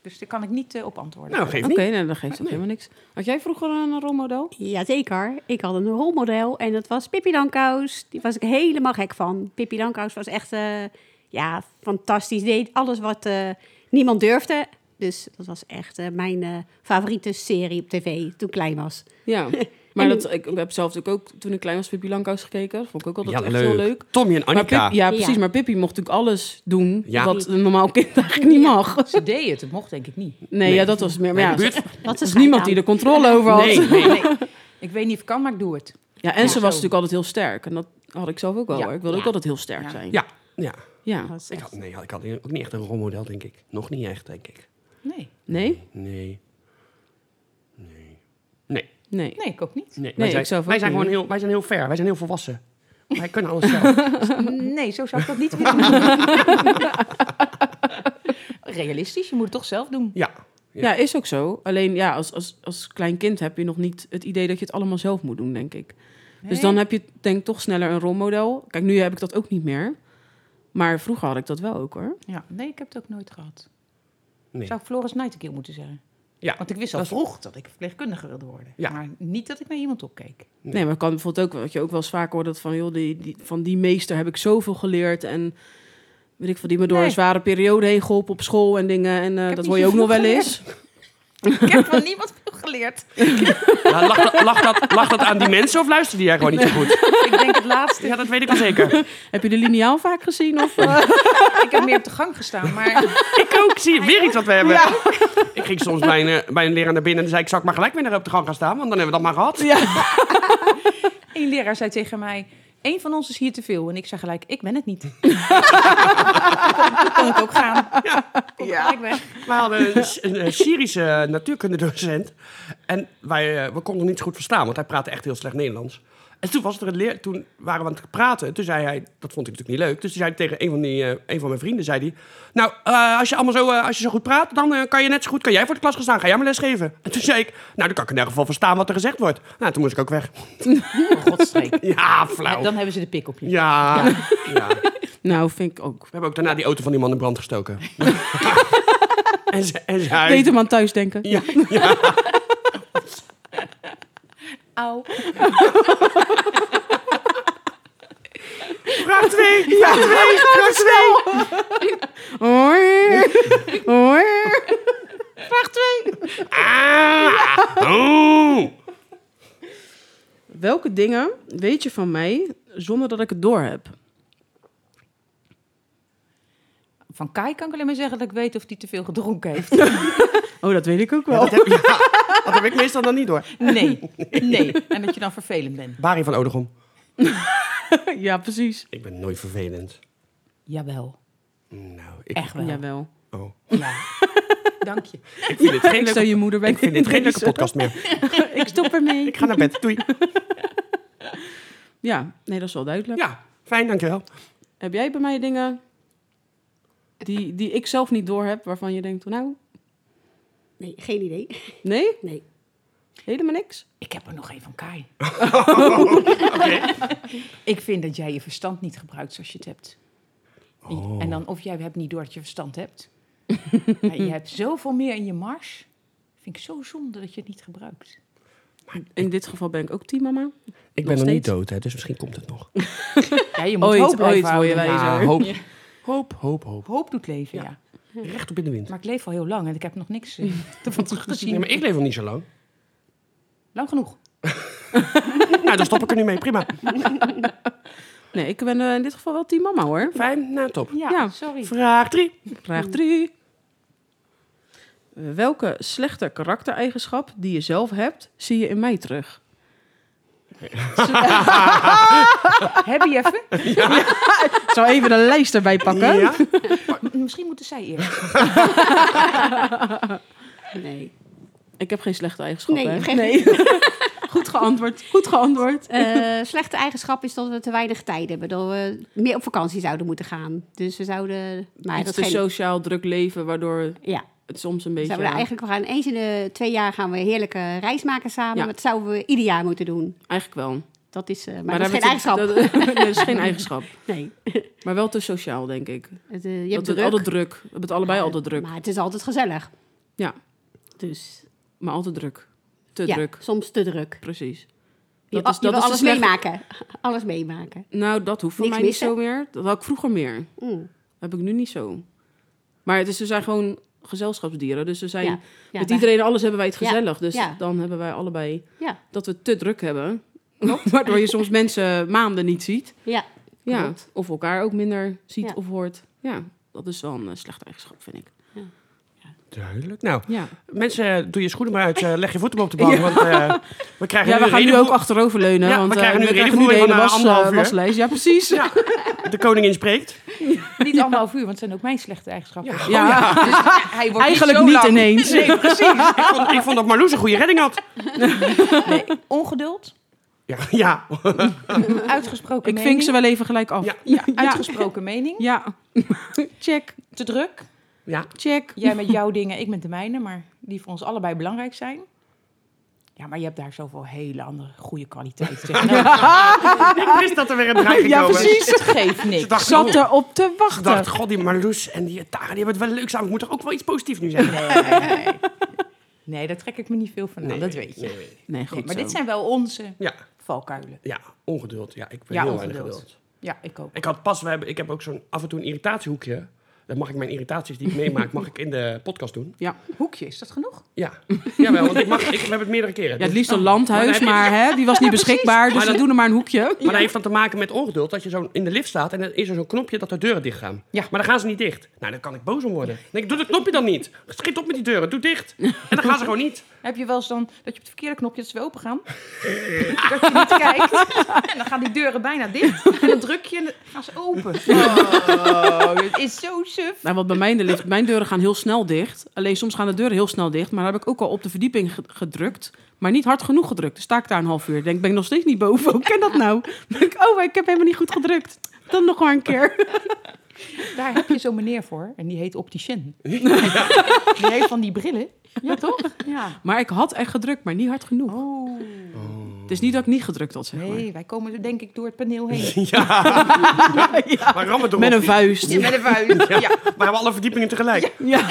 Dus daar kan ik niet eh, op antwoorden. Nou, geef Oké, niet. nee, dat geeft ook helemaal niks. Had jij vroeger een [laughs] rolmodel? Jazeker. Ik had een rolmodel en dat was Pippi Lankaus. Die was ik helemaal gek van. Pippi Lankaus was echt eh, ja, fantastisch. Deed alles wat eh, niemand durfde. Dus dat was echt eh, mijn eh, favoriete serie op tv toen ik klein was. Ja. Maar dat, ik heb zelf natuurlijk ook, toen ik klein was, Pippi Langkous gekeken. Dat vond ik ook altijd Ja, echt leuk. heel leuk. Tommy en Maar Annika. Pip- ja, precies. Ja. Maar Pippi mocht natuurlijk alles doen Ja. wat een normaal kind eigenlijk niet mag. [laughs] Ze deed het. Dat mocht denk ik niet. Nee, Ja, dat was meer. Maar ja, de buurt- er Dat was niemand die er controle over had. Nee, [laughs] nee. Ik weet niet of ik kan, maar ik doe het. Ja, en ze was zo. natuurlijk altijd heel sterk. En dat had ik zelf ook wel. Ja. hoor. Ik wilde ook Ja. altijd heel sterk Ja. zijn. Ja, ja. Ja. Ik had, nee, ik had ook niet echt een rolmodel, denk ik. Nog niet echt, denk ik. Nee. Nee? Nee. Nee. Nee. Nee. Nee, ik ook niet. nee. Nee, wij zijn, ik zelf ook wij zijn niet. gewoon heel, wij zijn heel ver. Wij zijn heel volwassen. Wij [laughs] kunnen alles zelf. Nee, zo zou ik dat [laughs] niet willen doen. Realistisch, je moet het toch zelf doen. Ja. Ja. is ook zo. Alleen ja, als, als, als klein kind heb je nog niet het idee dat je het allemaal zelf moet doen, denk ik. Dus dan heb je denk ik toch sneller een rolmodel. Kijk, nu heb ik dat ook niet meer. Maar vroeger had ik dat wel ook hoor. Ja, nee, ik heb het ook nooit gehad. Nee. Zou ik Floris Nightingale moeten zeggen? Ja. Want ik wist al Dat is- vroeg dat ik verpleegkundige wilde worden. Ja. Maar niet dat ik naar iemand opkeek. Nee, maar het kan bijvoorbeeld ook, wat je ook wel eens vaak hoort, dat van joh, die, die, van die meester heb ik zoveel geleerd. En weet ik veel, die me door Nee. een zware periode heen geholpen op school en dingen. En eh, heb dat niet hoor je ook nog wel zoveel eens. Ik heb van niemand veel geleerd. Ja, lag, dat, lag, dat, lag dat aan die mensen of luisterde jij gewoon niet zo goed? Ik denk het laatste. Ja, dat weet ik wel zeker. Heb je de lineaal vaak gezien? [laughs] Of, eh? Ik heb meer op de gang gestaan, maar [laughs] Ik ook. Zie je weer iets wat we hebben. Ik ging soms bij een, eh, bij een leraar naar binnen en zei ik, zou ik maar gelijk weer naar op de gang gaan staan? Want dan hebben we dat maar gehad. één leraar zei tegen mij... één van ons is hier te veel. En ik zei gelijk, ik ben het [laughs] niet. Dan kon ik ook gaan. Kon ik gelijk weg. We hadden een, S- een, eh, Syrische natuurkundedocent. En wij, eh, we konden hem niet zo goed verstaan, want hij praatte echt heel slecht Nederlands. En toen, was er een leer, toen waren we aan het praten. Toen zei hij, dat vond ik natuurlijk niet leuk. Dus toen zei hij tegen een van, die, eh, een van mijn vrienden, zei hij... Nou, eh, als, je allemaal zo, eh, als je zo goed praat, dan eh, kan je net zo goed... Kan jij voor de klas gaan staan, ga jij maar lesgeven. En toen zei ik, nou, dan kan ik in ieder geval verstaan wat er gezegd wordt. Nou, toen moest ik ook weg. [laughs] Oh, godstreek. Ja, Ja, flauw. dan hebben ze de pik op je. Ja, ja. nou, vind ik ook. We hebben ook daarna die auto van die man in brand [laughs] gestoken. en, ze- en zijn huis. Beter maar aan thuis denken. Ja, ja. Au. Vraag 2. Vraag 2. Vraag 2. [laughs] Hoor. Hoor. Ah. Oeh. Welke dingen weet je van mij zonder dat ik het door heb? Van Kai kan ik alleen maar zeggen dat ik weet of hij te veel gedronken heeft. Oh, dat weet ik ook wel. Dat heb, ja, dat heb ik meestal dan niet hoor. Nee, nee. En dat je dan vervelend bent. Barry van Odegom. [laughs] ja, precies. Ik ben nooit vervelend. Jawel, Nou, ik, echt wel. Jawel. oh. Ja. [laughs] Dank je. ik vind dit [laughs] geen Ik stel leuke, je moeder bij. ik [laughs] vind dit [laughs] geen leuke podcast meer. Ik stop ermee. Ik ga naar bed. Doei. Ja, nee, dat is wel duidelijk. Ja, Fijn, dankjewel. Heb jij bij mij dingen die, die ik zelf niet door heb, waarvan je denkt, nou, Nee, geen idee. nee, Nee. helemaal niks? Ik heb er nog één van [laughs] Kai. Oh, Oké. Ik vind dat jij je verstand niet gebruikt zoals je het hebt. En- En dan of jij hebt niet door dat je verstand hebt. [laughs] maar je hebt zoveel meer in je mars. Vind ik zo zonde dat je het niet gebruikt. In dit geval ben ik ook team mama. Ik ben Nog nog niet steeds. dood, hè, dus misschien komt het nog. Ja, je moet Ooit, hoop blijven ooit wil je houden. wij- Ah, zo. hoop, hoop, hoop, hoop. Hoop doet leven, ja. Recht op in de wind. Maar ik leef al heel lang en ik heb nog niks [laughs] eh, ervan Nee, teruggezien. maar ik leef nog niet zo lang. Lang genoeg. nou, dan stop ik er nu mee. Prima. Nee, ik ben eh, in dit geval wel team mama hoor. Fijn, nou top. Ja, Ja. sorry. Vraag drie. Vraag Hmm. 3. Eh, Welke slechte karaktereigenschap die je zelf hebt, zie je in mij terug? Heb je even? Ik zou even een lijst erbij pakken. Ja? Misschien moeten zij eerst. Nee. Ik heb geen slechte eigenschappen. Nee, hè? geen- Goed geantwoord. Goed geantwoord. [laughs] Eh, slechte eigenschap is dat we te weinig tijd hebben. Dat we meer op vakantie zouden moeten gaan. Dus we zouden... Maar het is dat een geen- sociaal druk leven, waardoor Ja, het soms een beetje... zouden we eigenlijk... We gaan eens in de twee jaar gaan we een heerlijke reis maken samen. Ja. Dat zouden we ieder jaar moeten doen. Eigenlijk wel. Dat is... eh, maar, Maar dat is geen daar [laughs] eigenschap. hebben we het- dat- dat is [laughs] geen eigenschap. Nee. Maar wel te sociaal, denk ik. Je Het, eh, je hebt dat druk. we altijd druk. We hebben het allebei altijd druk. Maar het is altijd gezellig. Ja. Dus... Maar altijd druk. Te ja, druk. soms te druk. Precies. Je, Dat is- dat je wil is de alles slechte- meemaken. [laughs] Alles meemaken. Nou, dat hoeft voor Niks mij niet missen. zo meer. Dat had ik vroeger meer. Mm. Dat heb ik nu niet zo. Maar het is, we zijn gewoon gezelschapsdieren. Dus we zijn Ja. Ja, met wij- iedereen alles hebben wij het Ja, gezellig. Dus ja. dan hebben wij allebei Ja, dat we het te druk hebben. [laughs] Waardoor je soms mensen maanden niet ziet. ja. Ja, Klopt. of elkaar ook minder ziet Ja. of hoort. Ja, dat is wel een eh, slechte eigenschap, vind ik. Duidelijk. Nou, Ja, mensen, doe je schoenen maar uit. eh, leg je voeten maar op de bank. Want eh, we krijgen ja nu we gaan nu redenvoer- ook achteroverleunen. Ja, we want eh, krijgen nu we krijgen nu de hele redenvoering van, eh, was, anderhalf eh, uur. waslijst. Ja, precies. Ja. De koningin spreekt. Oh Niet anderhalf uur, want het zijn ook mijn slechte eigenschappen. Dus hij wordt Eigenlijk zo niet lang. ineens. Nee, precies. Ik vond, ik vond dat Marloes een goede redding had. Nee, ongeduld, Ja, ja. uitgesproken Ik mening. vink ze wel even gelijk af. Ja. [laughs] ja. ja. Uitgesproken mening. ja. check, Te druk. ja. check. Jij met jouw dingen, ik met de mijne, maar die voor ons allebei belangrijk zijn. Ja, maar je hebt daar zoveel hele andere goede kwaliteiten tegen. Ik wist dat er weer een dreiging Ja, komen. precies. Het geeft Ze niks. dacht, Zat god, erop te ze wachten. dacht, god, die Marloes en die Tara, die hebben het wel leuk samen. Ik moet toch ook wel iets positiefs nu zeggen? Nee, nee, nee. nee, daar trek ik me niet veel van aan, Nou, dat weet je. Nee, nee. Nee, goed Nee, maar zo. dit zijn wel onze Ja, valkuilen. ja, ongeduld. Ja, ik ben Ja, heel weinig ongeduld. geduld. Ja, ik ook. Ik had pas, we hebben, ik heb ook zo'n af en toe een irritatiehoekje. Dan mag ik mijn irritaties die ik meemaak, mag ik in de podcast doen. Hoekje, is dat genoeg? Ja, Jawel, want ik, mag, ik, we hebben het meerdere keren. Ja, het liefst een landhuis, Maar dan maar hè, die was niet beschikbaar. Dus Maar we dat- doen er maar een hoekje. Maar dan heeft dat te maken met ongeduld. Dat je zo in de lift staat en dan is er zo'n knopje dat de deuren dicht gaan. Ja. Maar dan gaan ze niet dicht. Nou, dan kan ik boos om worden. Dan denk ik, doe dat knopje dan niet. Schiet op met die deuren, doe dicht. En dan gaan ze gewoon niet. Heb je wel eens dan dat je op het verkeerde knopje, dat ze weer open gaan? [laughs] dat je niet kijkt. En dan gaan die deuren bijna dicht. En dan druk je en dan gaan ze [laughs] open. Oh, dit is zo suf. Nou, wat bij mij in de lift, mijn deuren gaan heel snel dicht. Alleen soms gaan de deuren heel snel dicht. Maar dan heb ik ook al op de verdieping ge- gedrukt. Maar niet hard genoeg gedrukt. Dus sta ik daar een half uur. Denk, ben ik nog steeds niet boven? Hoe kan dat nou? Dan denk ik, oh, maar ik heb helemaal niet goed gedrukt. Dan nog maar een keer. Daar heb je zo'n meneer voor. En die heet [laughs] opticien. Die heeft van die brillen. Ja, toch? Ja. Maar ik had echt gedrukt, maar niet hard genoeg. Oh. Het is niet dat ik niet gedrukt had, zeg maar. Nee, wij komen denk ik door het paneel [laughs] heen. Maar ram het erop. Met een vuist. Met een vuil. Ja, maar we hebben alle verdiepingen tegelijk. Ja.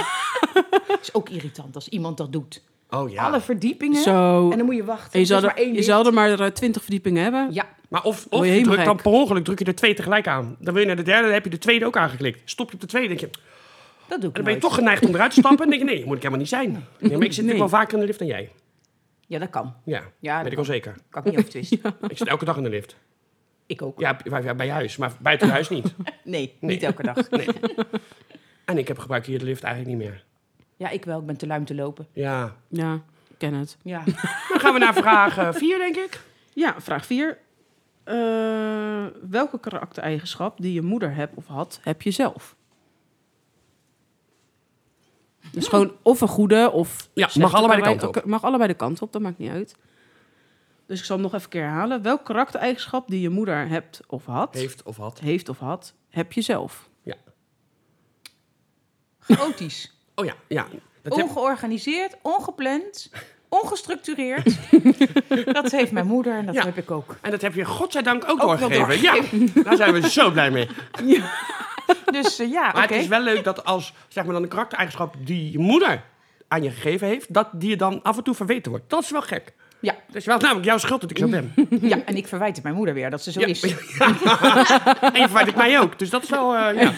Het is ook irritant als iemand dat doet. Oh ja. Alle verdiepingen. Zo. En dan moet je wachten. En je dus Er is zou maar één er, je lift. zou er maar twintig verdiepingen hebben. Ja, Maar of, Word je of je drukt helemaal dan per ongeluk druk je er twee tegelijk aan. Dan wil je naar de derde, dan heb je de tweede ook aangeklikt. Stop je op de tweede, denk je. En dat doe ik dan ben je nooit. toch geneigd om eruit te stappen. En denk je, nee, dat moet ik helemaal niet [laughs] zijn. Nee, maar ik zit Nee. natuurlijk wel vaker in de lift dan jij. Ja, dat kan. Ja, Ja, dat weet ik wel zeker. Kan ik niet overtwisten. Ik zit elke dag in de lift. Ik ook. Ja, bij, ja, bij je huis, maar buiten je huis [laughs] niet. Nee, [laughs] Nee. niet elke dag. En ik heb gebruikt hier de lift eigenlijk niet meer. Ja, ik wel. Ik ben te luim te lopen. Ja. Ja, ik ken het. [laughs] Ja. Dan gaan we naar vraag 4, denk ik. Ja, vraag 4. welke karaktereigenschap die je moeder hebt of had, heb je zelf? Dus gewoon of een goede of... mag slechte allebei de karakt- kant op. Mag allebei de kant op, dat maakt niet uit. Dus ik zal hem nog even een keer herhalen. Welk karaktereigenschap die je moeder hebt of had, Heeft of had. heeft of had, heb je zelf? Chaotisch. Oh ja, ja. Dat heb- Ongeorganiseerd, ongepland, [laughs] ongestructureerd. dat heeft mijn moeder en dat Ja. heb ik [laughs] ook. En dat heb je godzijdank ook, Ook wel doorgegeven. Ja, [laughs] daar zijn we zo blij mee. Dus eh, ja, oké. Maar het is wel leuk dat als, zeg maar dan, een karaktereigenschap die je moeder aan je gegeven heeft, dat die je dan af en toe verweten wordt. Dat is wel gek. Ja. Dat is wel namelijk jouw schuld dat ik zo [laughs] ben. Ja, en ik verwijt het mijn moeder weer dat ze zo Ja. [laughs] is. En je verwijt het mij ook. Dus dat is wel, eh [laughs] ja.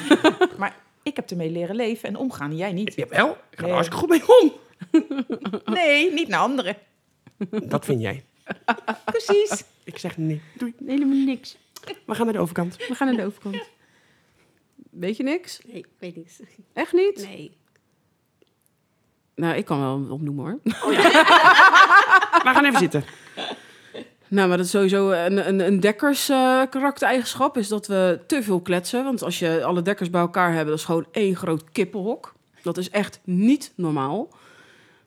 Maar ik heb ermee leren leven en omgaan, en jij niet. Jawel, ik ga er Nee. hartstikke goed mee om. Nee, niet naar anderen. Dat vind jij. Precies. Ik zeg nee. Doei. Helemaal niks. We gaan naar de overkant. We gaan naar de overkant. Weet je niks? Nee, ik weet niet. Echt niet? [laughs] Nee. Nou, ik kan wel opnoemen hoor. We gaan even zitten. Nou, maar dat is sowieso een, een, een dekkers eh, karaktereigenschap is dat we te veel kletsen. Want als je alle dekkers bij elkaar hebt, dat is gewoon één groot kippenhok. Dat is echt niet normaal.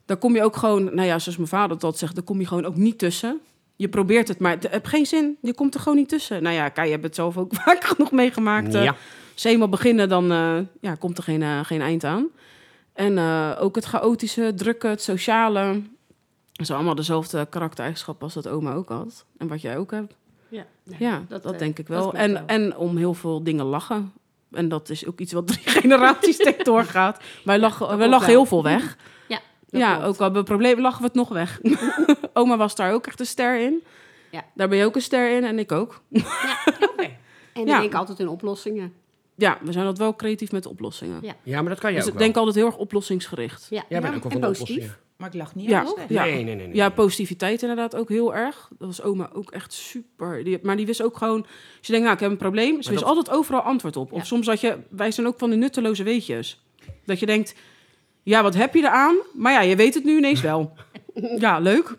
Daar kom je ook gewoon, nou ja, zoals mijn vader dat zegt, daar kom je gewoon ook niet tussen. Je probeert het, maar het heeft geen zin. Je komt er gewoon niet tussen. Nou ja, kijk, je hebt het zelf ook [laughs] vaak genoeg meegemaakt. eh, Ja. als ze eenmaal beginnen, dan eh, ja, komt er geen, eh, geen eind aan. En eh, ook het chaotische, drukke, het sociale. Dat zijn allemaal dezelfde karaktereigenschappen als dat oma ook had. En wat jij ook hebt. Ja. Nee. Ja, dat, dat, eh, denk ik dat wel. klopt en, wel. en om heel veel dingen lachen. En dat is ook iets wat drie [laughs] generaties tegen doorgaat. Wij lachen, wij klopt lachen wel. heel veel weg. Ja, [laughs] dat Ja, klopt. ook al hebben we problemen, lachen we het nog weg. [laughs] oma was daar ook echt een ster in. Ja. Daar ben je ook een ster in en ik ook. En Ja. ik denk altijd in oplossingen. Ja, we zijn dat wel creatief met oplossingen. Ja. Ja, maar dat kan jij Dus ook ik wel. denk altijd heel erg oplossingsgericht. Ja. Jij bent ook wel en van de positief. oplossingen. [laughs] Maar ik lach niet. Ja, aan ja. Nee, nee, nee. nee. Ja, positiviteit inderdaad ook heel erg. Dat was oma ook echt super. Die, maar die wist ook gewoon... Als je denkt, nou, ik heb een probleem. Ze Maar wist dat- altijd overal antwoord op. Ja. Of soms dat je... Wij zijn ook van de nutteloze weetjes. Dat je denkt, ja, wat heb je eraan? Maar ja, je weet het nu ineens [laughs] wel. ja, leuk.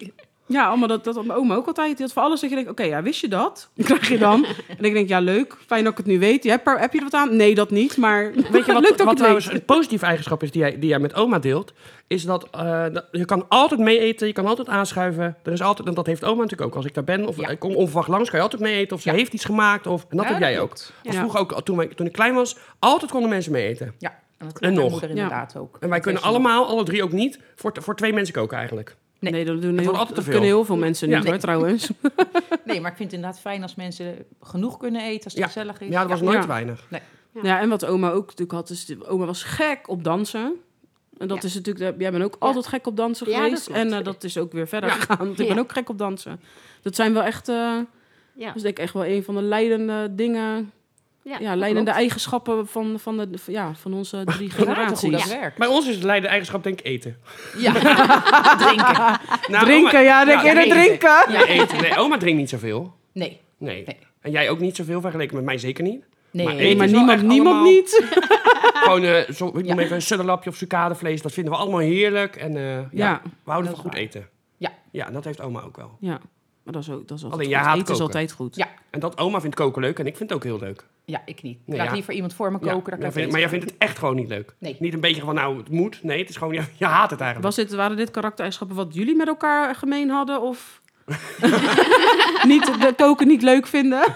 Ja, allemaal dat, dat had mijn oma ook altijd. Die had voor alles dat je denkt, oké, ja, wist je dat? [laughs] Dan krijg je dan. En ik denk, ja, leuk. Fijn dat ik het nu weet. Je hebt er- heb je er wat aan? Nee, dat niet. Maar Weet [laughs] je leuk wat, dat ik wat het trouwens weet. een positieve eigenschap is die jij, die jij met oma deelt? Is dat, eh, dat- je kan altijd mee eten, je kan altijd aanschuiven. Er is altijd, en dat heeft oma natuurlijk ook. Als ik daar ben of Ja. ik kom onverwacht langs, kan je altijd mee eten. Of ze heeft iets gemaakt. Of, en dat Ja, heb jij dat ook. klopt. Want Ja. Vroeger ook, toen, wij- toen ik klein was, altijd konden mensen mee eten. Ja, en dat En en nog. nog. moeder inderdaad ook. En wij kunnen allemaal, alle drie ook niet, voor, t- voor twee mensen koken eigenlijk. Nee, Nee. dat, doen wordt heel, altijd te dat veel. kunnen heel veel mensen niet Ja. hoor, trouwens. Nee, maar ik vind het inderdaad fijn als mensen genoeg kunnen eten, als het Ja. gezellig is. Ja, dat was nooit Ja. weinig. Ja. en wat oma ook natuurlijk had, is de- oma was gek op dansen. En dat Ja. is natuurlijk, jij bent ook altijd gek op dansen Ja, dat geweest. klopt. en eh, dat is ook weer verder Ja. gegaan, want ik ben Ja. ook gek op dansen. Dat zijn wel echt, eh, Ja. dat is denk ik echt wel een van de leidende dingen, ja, dat leidende klopt. eigenschappen van, van, de, van- ja, van onze drie Generaties. Hoe dat generaties. werkt. Bij ons is het leidende eigenschap denk ik [laughs] eten. [laughs] Ja, drinken. Nou, Drinken, oma- ja, denk ja, eerder drinken. drinken. Nee, eten. Nee, oma drinkt niet zoveel. Nee, Nee. Nee. En jij ook niet zoveel, vergeleken met mij zeker niet. [laughs] nee. Maar nee. Nee, Eten maar is wel niemand, echt niemand allemaal- niet. Gewoon, eh, zo, ik Ja. noem even een sudderlapje of sucadevlees. Dat vinden we allemaal heerlijk. En eh, ja, Ja. we houden Dat van goed is eten. Ja. Ja, en dat heeft oma ook wel. Ja, maar dat is ook, dat is altijd Alleen goed. jij haat Eten is koken. altijd goed. Ja. En dat oma vindt koken leuk en ik vind het ook heel leuk. Ja, ik niet. Ik Nee, laat ja. liever iemand voor me koken. Ja, dan kan jij ik vindt- eten. maar jij vindt het echt gewoon niet leuk. Nee. Niet een beetje van, nou, het moet. Nee, het is gewoon, je, je haat het eigenlijk. Was dit, waren dit karaktereigenschappen wat jullie met elkaar gemeen hadden? Of [laughs] niet, de koken niet leuk vinden? [laughs]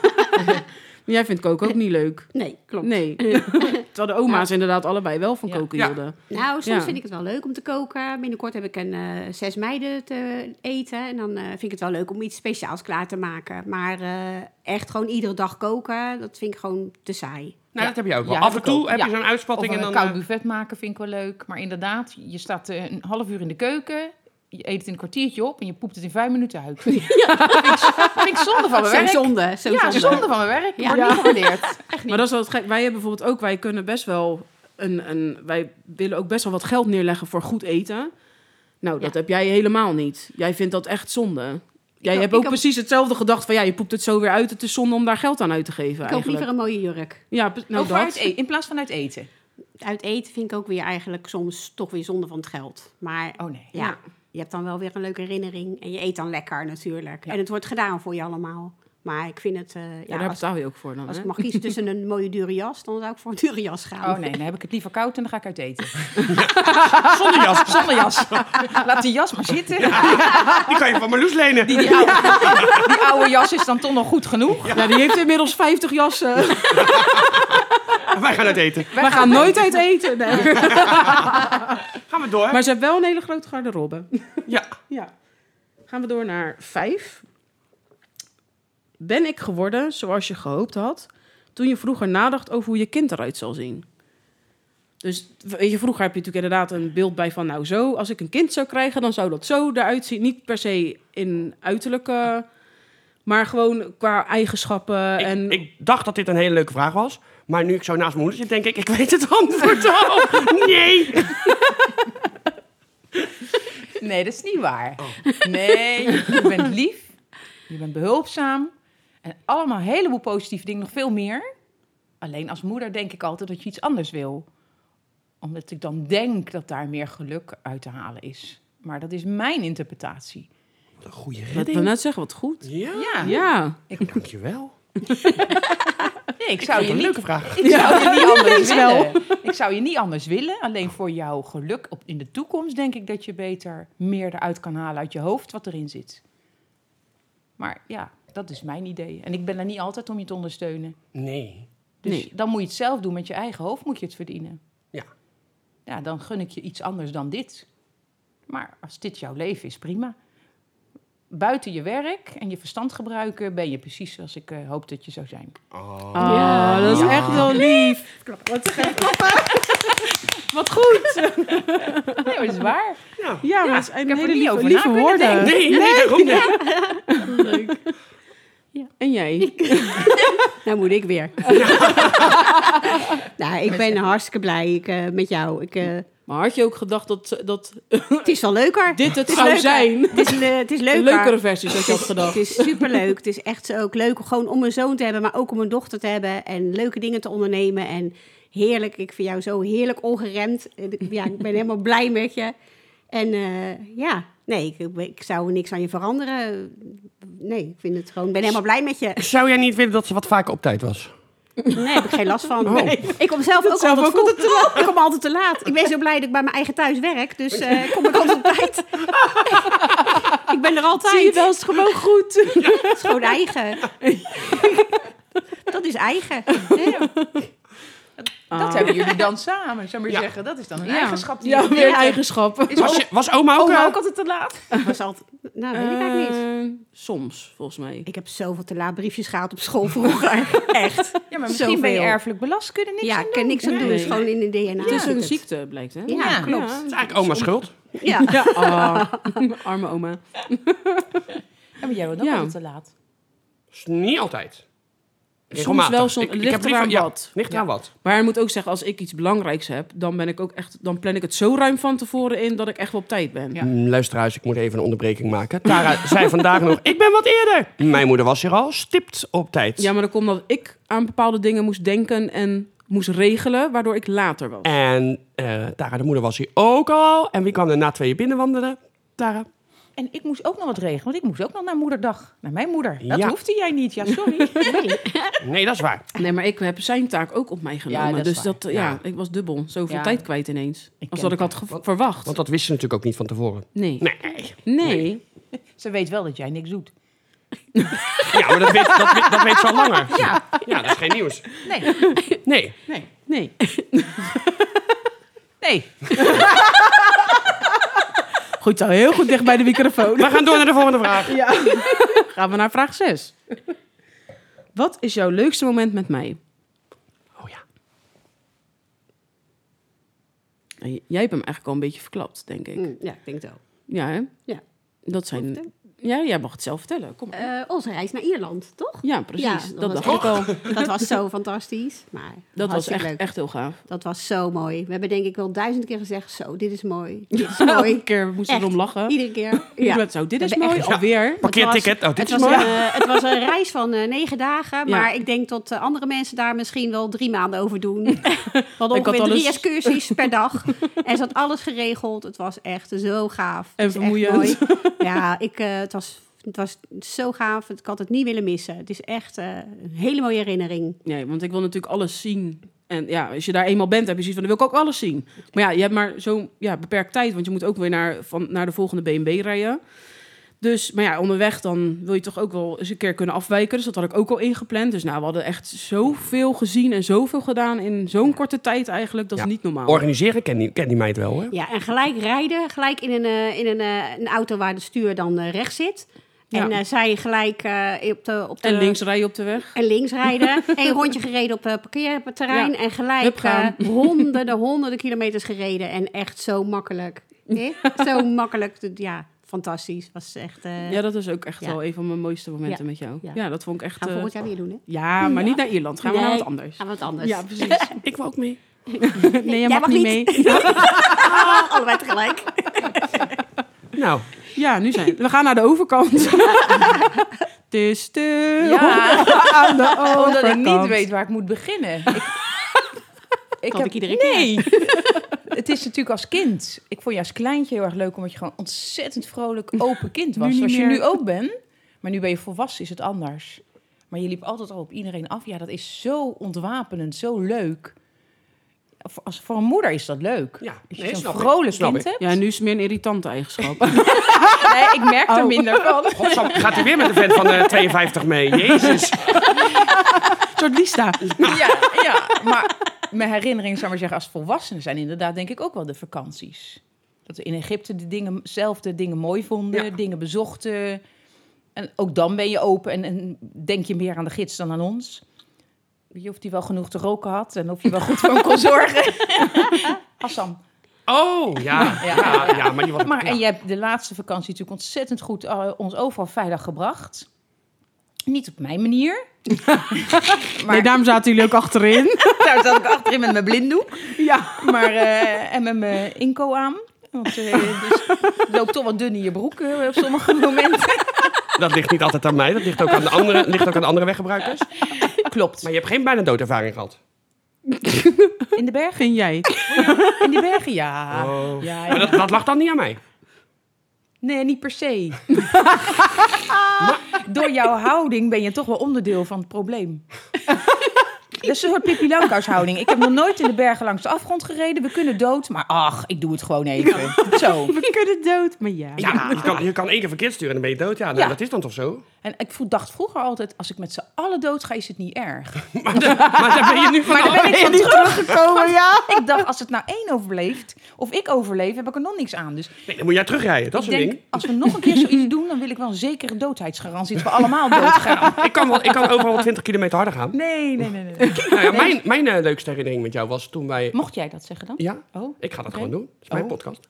Jij vindt koken ook niet leuk. Nee, klopt. [laughs] Nee. Terwijl de oma's inderdaad allebei wel van Ja. koken Ja. hielden. Nou, soms Ja. vind ik het wel leuk om te koken. Binnenkort heb ik een eh, zes meiden te eten. En dan eh, vind ik het wel leuk om iets speciaals klaar te maken. Maar eh, echt gewoon iedere dag koken, dat vind ik gewoon te saai. nou, dat heb je ook wel. Ja, Af en dat toe ook. heb je Ja. zo'n Of uitspatting een en dan... koud eh, buffet maken vind ik wel leuk. Maar inderdaad, je staat eh, een half uur in de keuken. Je eet het in een kwartiertje op en je poept het in vijf minuten [laughs] uit. Ja. Dat vind ik zonde van mijn Zo'n werk. zonde. Zo Ja, zonde. zonde van mijn werk. Ik word niet [laughs] gewaardeerd. Echt Maar niet. dat is wel het gek. Wij hebben bijvoorbeeld ook, wij kunnen best wel een, een wij willen ook best wel wat geld neerleggen voor goed eten. Nou, dat Ja. heb jij helemaal niet. Jij vindt dat echt zonde. Jij ook- hebt ik ook ook- precies hetzelfde gedacht van ja, je poept het zo weer uit. Het is zonde om daar geld aan uit te geven. Ik koop eigenlijk. liever een mooie jurk. Ja, pre- nou Ook dat. vanuit e- in plaats van uit eten. Uit eten vind ik ook weer eigenlijk soms toch weer zonde van het geld. Maar Oh nee. ja, je hebt dan wel weer een leuke herinnering. En je eet dan lekker natuurlijk. En het wordt gedaan voor je allemaal. Maar ik vind het... eh, Ja, ja, daar als, betaal je ook voor dan. als hè? ik mag kiezen tussen een mooie dure jas, dan zou ik voor een dure jas gaan. Oh nee, dan heb ik het liever koud en dan ga ik uit eten. [laughs] Zonder jas. Zonder jas. Laat die jas maar zitten. Die kan je van Marloes lenen. [laughs] Die, die, oude, die oude jas is dan toch nog goed genoeg. [laughs] Ja, die heeft inmiddels 50 jassen. [laughs] [laughs] Wij gaan uit eten. Wij gaan nooit uit eten. nee. Gaan we door. Maar ze hebben wel een hele grote [laughs] garderobe. Ja. Ja. Gaan we door naar vijf. Ben ik geworden zoals je gehoopt had toen je vroeger nadacht over hoe je kind eruit zal zien? Dus weet je, vroeger heb je natuurlijk inderdaad een beeld bij van, nou zo, als ik een kind zou krijgen, dan zou dat zo eruit zien. Niet per se in uiterlijke, maar gewoon qua eigenschappen. Ik, en ik dacht dat dit een hele leuke vraag was. Maar nu ik zo naast mijn moeder zit, denk ik, ik weet het antwoord al. [laughs] Nee. Nee, dat is niet waar. Nee, je bent lief. Je bent behulpzaam. En allemaal een heleboel positieve dingen, nog veel meer. Alleen als moeder denk ik altijd dat je iets anders wil. Omdat ik dan denk dat daar meer geluk uit te halen is. Maar dat is mijn interpretatie. Een goede wat we net zeggen, wat goed. Ja, Ja, Ja, dankjewel. Nee, ik zou je Een niet leuke vraag. Ik zou je [laughs] niet anders Ineens wel. willen. Ik zou je niet anders willen. Alleen voor jouw geluk op, in de toekomst denk ik dat je beter meer eruit kan halen uit je hoofd wat erin zit. Maar ja, dat is mijn idee. En ik ben er niet altijd om je te ondersteunen. Nee. Dus Nee. dan moet je het zelf doen. Met je eigen hoofd moet je het verdienen. Ja. Ja, dan gun ik je iets anders dan dit. Maar als dit jouw leven is, prima. Buiten je werk en je verstand gebruiken ben je precies zoals ik eh, hoop dat je zou [laughs] zijn. Oh. Ah, dat is echt wel lief. [laughs] Wat goed. Nee, maar dat is waar. Ja. Ja, Ja, maar het zijn ik heb hele er niet lieve, over lieve na kunnen woorden. Nee, nee, daarom niet. En jij? Nou moet ik [laughs] weer. [laughs] nou, ik ben hartstikke blij ik, eh, met jou. Ik, eh, Maar had je ook gedacht dat, dat het is wel leuker. dit het is zou leuker. zijn? Het is, le- het is leuker. Een leukere versie, zoals [laughs] je had Het gedacht. is superleuk. Het is echt ook leuk gewoon om een zoon te hebben, maar ook om een dochter te hebben. En leuke dingen te ondernemen. En heerlijk. Ik vind jou zo heerlijk ongeremd. Ja, ik ben helemaal blij met je. En eh, ja, nee, ik, ik zou niks aan je veranderen. Nee, ik vind het gewoon... Ik ben helemaal blij met je. Zou jij niet willen dat ze wat vaker op tijd was? Nee, heb ik geen last van. Oh. Ik kom zelf ook, zelf altijd, ook vroeg. Ik kom altijd te laat. Ik ben zo blij dat ik bij mijn eigen thuis werk. Dus eh, ik kom ik altijd op [laughs] tijd. ik ben er altijd. Zie je, dat is gewoon goed. Het is gewoon eigen. dat is eigen. [laughs] Dat hebben jullie dan samen, zou ik maar Ja. zeggen. Dat is dan een Ah. Ja. eigenschap. Die Ja, je weer hebt. eigenschappen. Is Was, je, was oma ook? oma eh, ook altijd te laat? Was altijd, nou, weet ik eigenlijk niet. Eh, soms, volgens mij. Ik heb zoveel te laat briefjes gehaald op school [laughs] vroeger. Echt. Ja, maar misschien ben je Zoveel. erfelijk belast. Kunnen niks ja, aan ik doen. kan niks aan doen. Nee. is gewoon in de DNA. het is zit een ziekte, blijkt, hè? Ja, Ja. klopt. Het is eigenlijk oma's schuld. Ja. Ja, ah, [laughs] arme oma. Ja, maar jij wordt ook Ja. altijd te laat. Is niet altijd. Soms wel, soms, Ik- ik ligt heb liever- eraan ja, wat. Ligt eraan wat. Maar je moet ook zeggen, als ik iets belangrijks heb, dan, ben ik ook echt, dan plan ik het zo ruim van tevoren in dat ik echt wel op tijd ben. Ja. Mm, Luisteraars, ik moet even een onderbreking maken. Tara [laughs] zei vandaag nog, ik ben wat eerder. Mijn moeder was hier al stipt op tijd. Ja, maar dan komt dat ik aan bepaalde dingen moest denken en moest regelen, waardoor ik later was. En eh, Tara, de moeder, was hier ook al. En wie kwam er na tweeën binnenwandelen? Tara. En ik moest ook nog wat regelen, want ik moest ook nog naar moederdag. Naar mijn moeder. Dat Ja. hoefde jij niet. Ja, sorry. [laughs] Nee, dat is waar. Nee, maar ik heb zijn taak ook op mij genomen. dat dus is waar. dat, eh, ja. Ja. ik was dubbel. Zoveel Ja. tijd kwijt ineens. ken als dat ik dat. had ge- verwacht. Want dat wist ze natuurlijk ook niet van tevoren. nee. nee. Nee. Ze weet wel dat jij niks doet. Ja, maar dat weet, dat, weet- dat weet ze al langer. Ja, Ja, dat is geen nieuws. nee. Nee. Nee. Nee. Nee. [laughs] Goed zo, heel goed dicht bij de microfoon. We gaan door naar de volgende vraag. Gaan we naar vraag 6. Wat is jouw leukste moment met mij? Oh ja. Nou, j- Jij hebt hem eigenlijk al een beetje verklapt, denk ik. Mm, Ja, ik denk het wel. Ja, hè? Ja. Dat zijn... Ja, jij mag het zelf vertellen. Kom maar. Eh, onze reis naar Ierland, toch? ja, precies. Ja, dat was dacht ik al. Dat was zo fantastisch. Maar Dat was hartstikke echt, leuk. echt heel [laughs] gaaf. Dat was zo mooi. We hebben denk ik wel duizend keer gezegd, zo, dit is [laughs] mooi. Dit is mooi. Elke keer moesten we Echt. erom lachen. [laughs] Iedere [laughs] keer. Ja. Ja. Zo, dit is We hebben mooi, echt- alweer. Parkeerticket. Oh, dit Het is was, mooi. een, eh, het was een reis van eh, negen dagen, Ja. maar ik denk dat eh, andere mensen daar misschien wel drie maanden over [laughs] doen. We hadden Ik had ongeveer drie alles- excursies [laughs] per dag en ze had alles geregeld. Het was echt zo gaaf. En Het is echt [laughs] vermoeiend. mooi. Ja, ik, eh, het was Het was zo gaaf. Ik had het niet willen missen. Het is echt eh, een hele mooie herinnering. Nee, want ik wil natuurlijk alles zien. En ja, als je daar eenmaal bent, heb je zoiets van, dan wil ik ook alles zien. Maar ja, je hebt maar zo'n ja, beperkt tijd, want je moet ook weer naar, van, naar de volgende BNB rijden. Dus, maar ja, onderweg dan wil je toch ook wel eens een keer kunnen afwijken. Dus dat had ik ook al ingepland. Dus nou, we hadden echt zoveel gezien en zoveel gedaan in zo'n korte tijd eigenlijk. Dat is Ja, niet normaal. Organiseren kent die, kent die meid wel, hè? Ja, en gelijk rijden, gelijk in een, eh, in een, eh, een auto waar de stuur dan eh, rechts zit. Ja. En eh, zij gelijk eh, op de... Op de en links rij je op de weg. En links [laughs] rijden. Een rondje gereden op het parkeerterrein. Ja. En Hup gelijk gaan. eh, honderden, honderden kilometers gereden. En echt zo makkelijk. Nee? zo makkelijk. Ja, fantastisch. Was echt... eh, Ja, dat is ook echt Ja. wel een van mijn mooiste momenten met jou. Ja. Ja. dat vond ik echt... Gaan we eh, volgend jaar weer doen, hè? ja, maar niet naar Ierland. Gaan we naar Nee, wat anders. Gaan we wat anders. Ja, [laughs] precies. Ik wil ook mee. Nee, jij mag, mag niet mee. niet. [laughs] Oh, Allebei tegelijk. Nou, Ja, nu zijn we gaan naar de overkant. [laughs] Dus, eh, Het is stil Ja. [laughs] aan de overkant. Omdat ik niet weet waar ik moet beginnen. [laughs] Ik, ik ik iedere Nee. [laughs] Het is natuurlijk als kind. Ik vond je als kleintje heel erg leuk omdat je gewoon ontzettend vrolijk open kind Nu was. niet Zoals je meer. nu ook bent. Maar nu ben je volwassen, is het anders. Maar je liep altijd al op iedereen af. Ja, dat is zo ontwapenend, zo leuk. Voor- Als, voor een moeder is dat leuk. ja. Als je Nee, zo'n snap ik. vrolijk Snap kind ik. hebt. Ja, nu is het meer een irritante eigenschap. [laughs] Nee, ik merk er Oh. minder van. Godsam, gaat hij weer met een vent van eh, 52 mee? Jezus. Een soort Lista. [laughs] Ja, ja, maar mijn herinneringen, zou ik maar zeggen, als volwassenen zijn inderdaad denk ik ook wel de vakanties. Dat we in Egypte de dingen, zelf de dingen mooi vonden, Ja. dingen bezochten. En ook dan ben je open en, en denk je meer aan de gids dan aan ons. Weet je of die wel genoeg te roken had en of je wel goed voor [laughs] hem kon zorgen. Assam. Oh, ja. Ja. Ja, ja, maar die was... Maar ja. en je hebt de laatste vakantie natuurlijk ontzettend goed eh, ons overal veilig gebracht. Niet op mijn manier. maar Nee, daarom zaten jullie ook achterin. daar zat ik achterin met mijn blinddoek. ja. Maar, eh, en met mijn inco aan. Want eh dus het loopt toch wat dun in je broek eh, op sommige momenten. Dat ligt niet altijd aan mij. Dat ligt ook aan de andere, ligt ook aan de andere weggebruikers. Klopt. Maar je hebt geen bijna doodervaring gehad. In de bergen? Vind jij? In de bergen, ja. Oh. ja, Maar ja. dat, dat lag dan niet aan mij. Nee, niet per se. Door jouw houding ben je toch wel onderdeel van het probleem. Dat is een soort Pippi Langkous houding. Ik heb nog nooit in de bergen langs de afgrond gereden. We kunnen dood, maar ach, ik doe het gewoon even. Zo. We kunnen dood, maar ja. Ja, je kan, je kan één keer verkeerd sturen en dan ben je dood. Ja, nou, Ja. dat is dan toch zo? En ik vo- dacht vroeger altijd, als ik met z'n allen dood ga, is het niet [laughs] erg. Maar daar ben je nu van Maar af. daar ben ik van terug. Teruggekomen, [laughs] ja. Ik dacht, als het nou één overleeft, of ik overleef, heb ik er nog niks aan. Dus Nee, dan moet jij terugrijden. Dat is ik een denk, ding. als we nog een keer [laughs] zoiets doen, dan wil ik wel een zekere doodheidsgarantie. Dat we allemaal doodgaan. Ik kan, wel, ik kan overal 20 kilometer harder gaan. [laughs] Nee, nee, nee, nee. Nou ja, mijn mijn eh, leukste herinnering met jou was toen wij... [laughs] Mocht jij dat zeggen dan? Ja, Oh, ik ga dat Oké. gewoon doen. Dat is mijn Oh. podcast.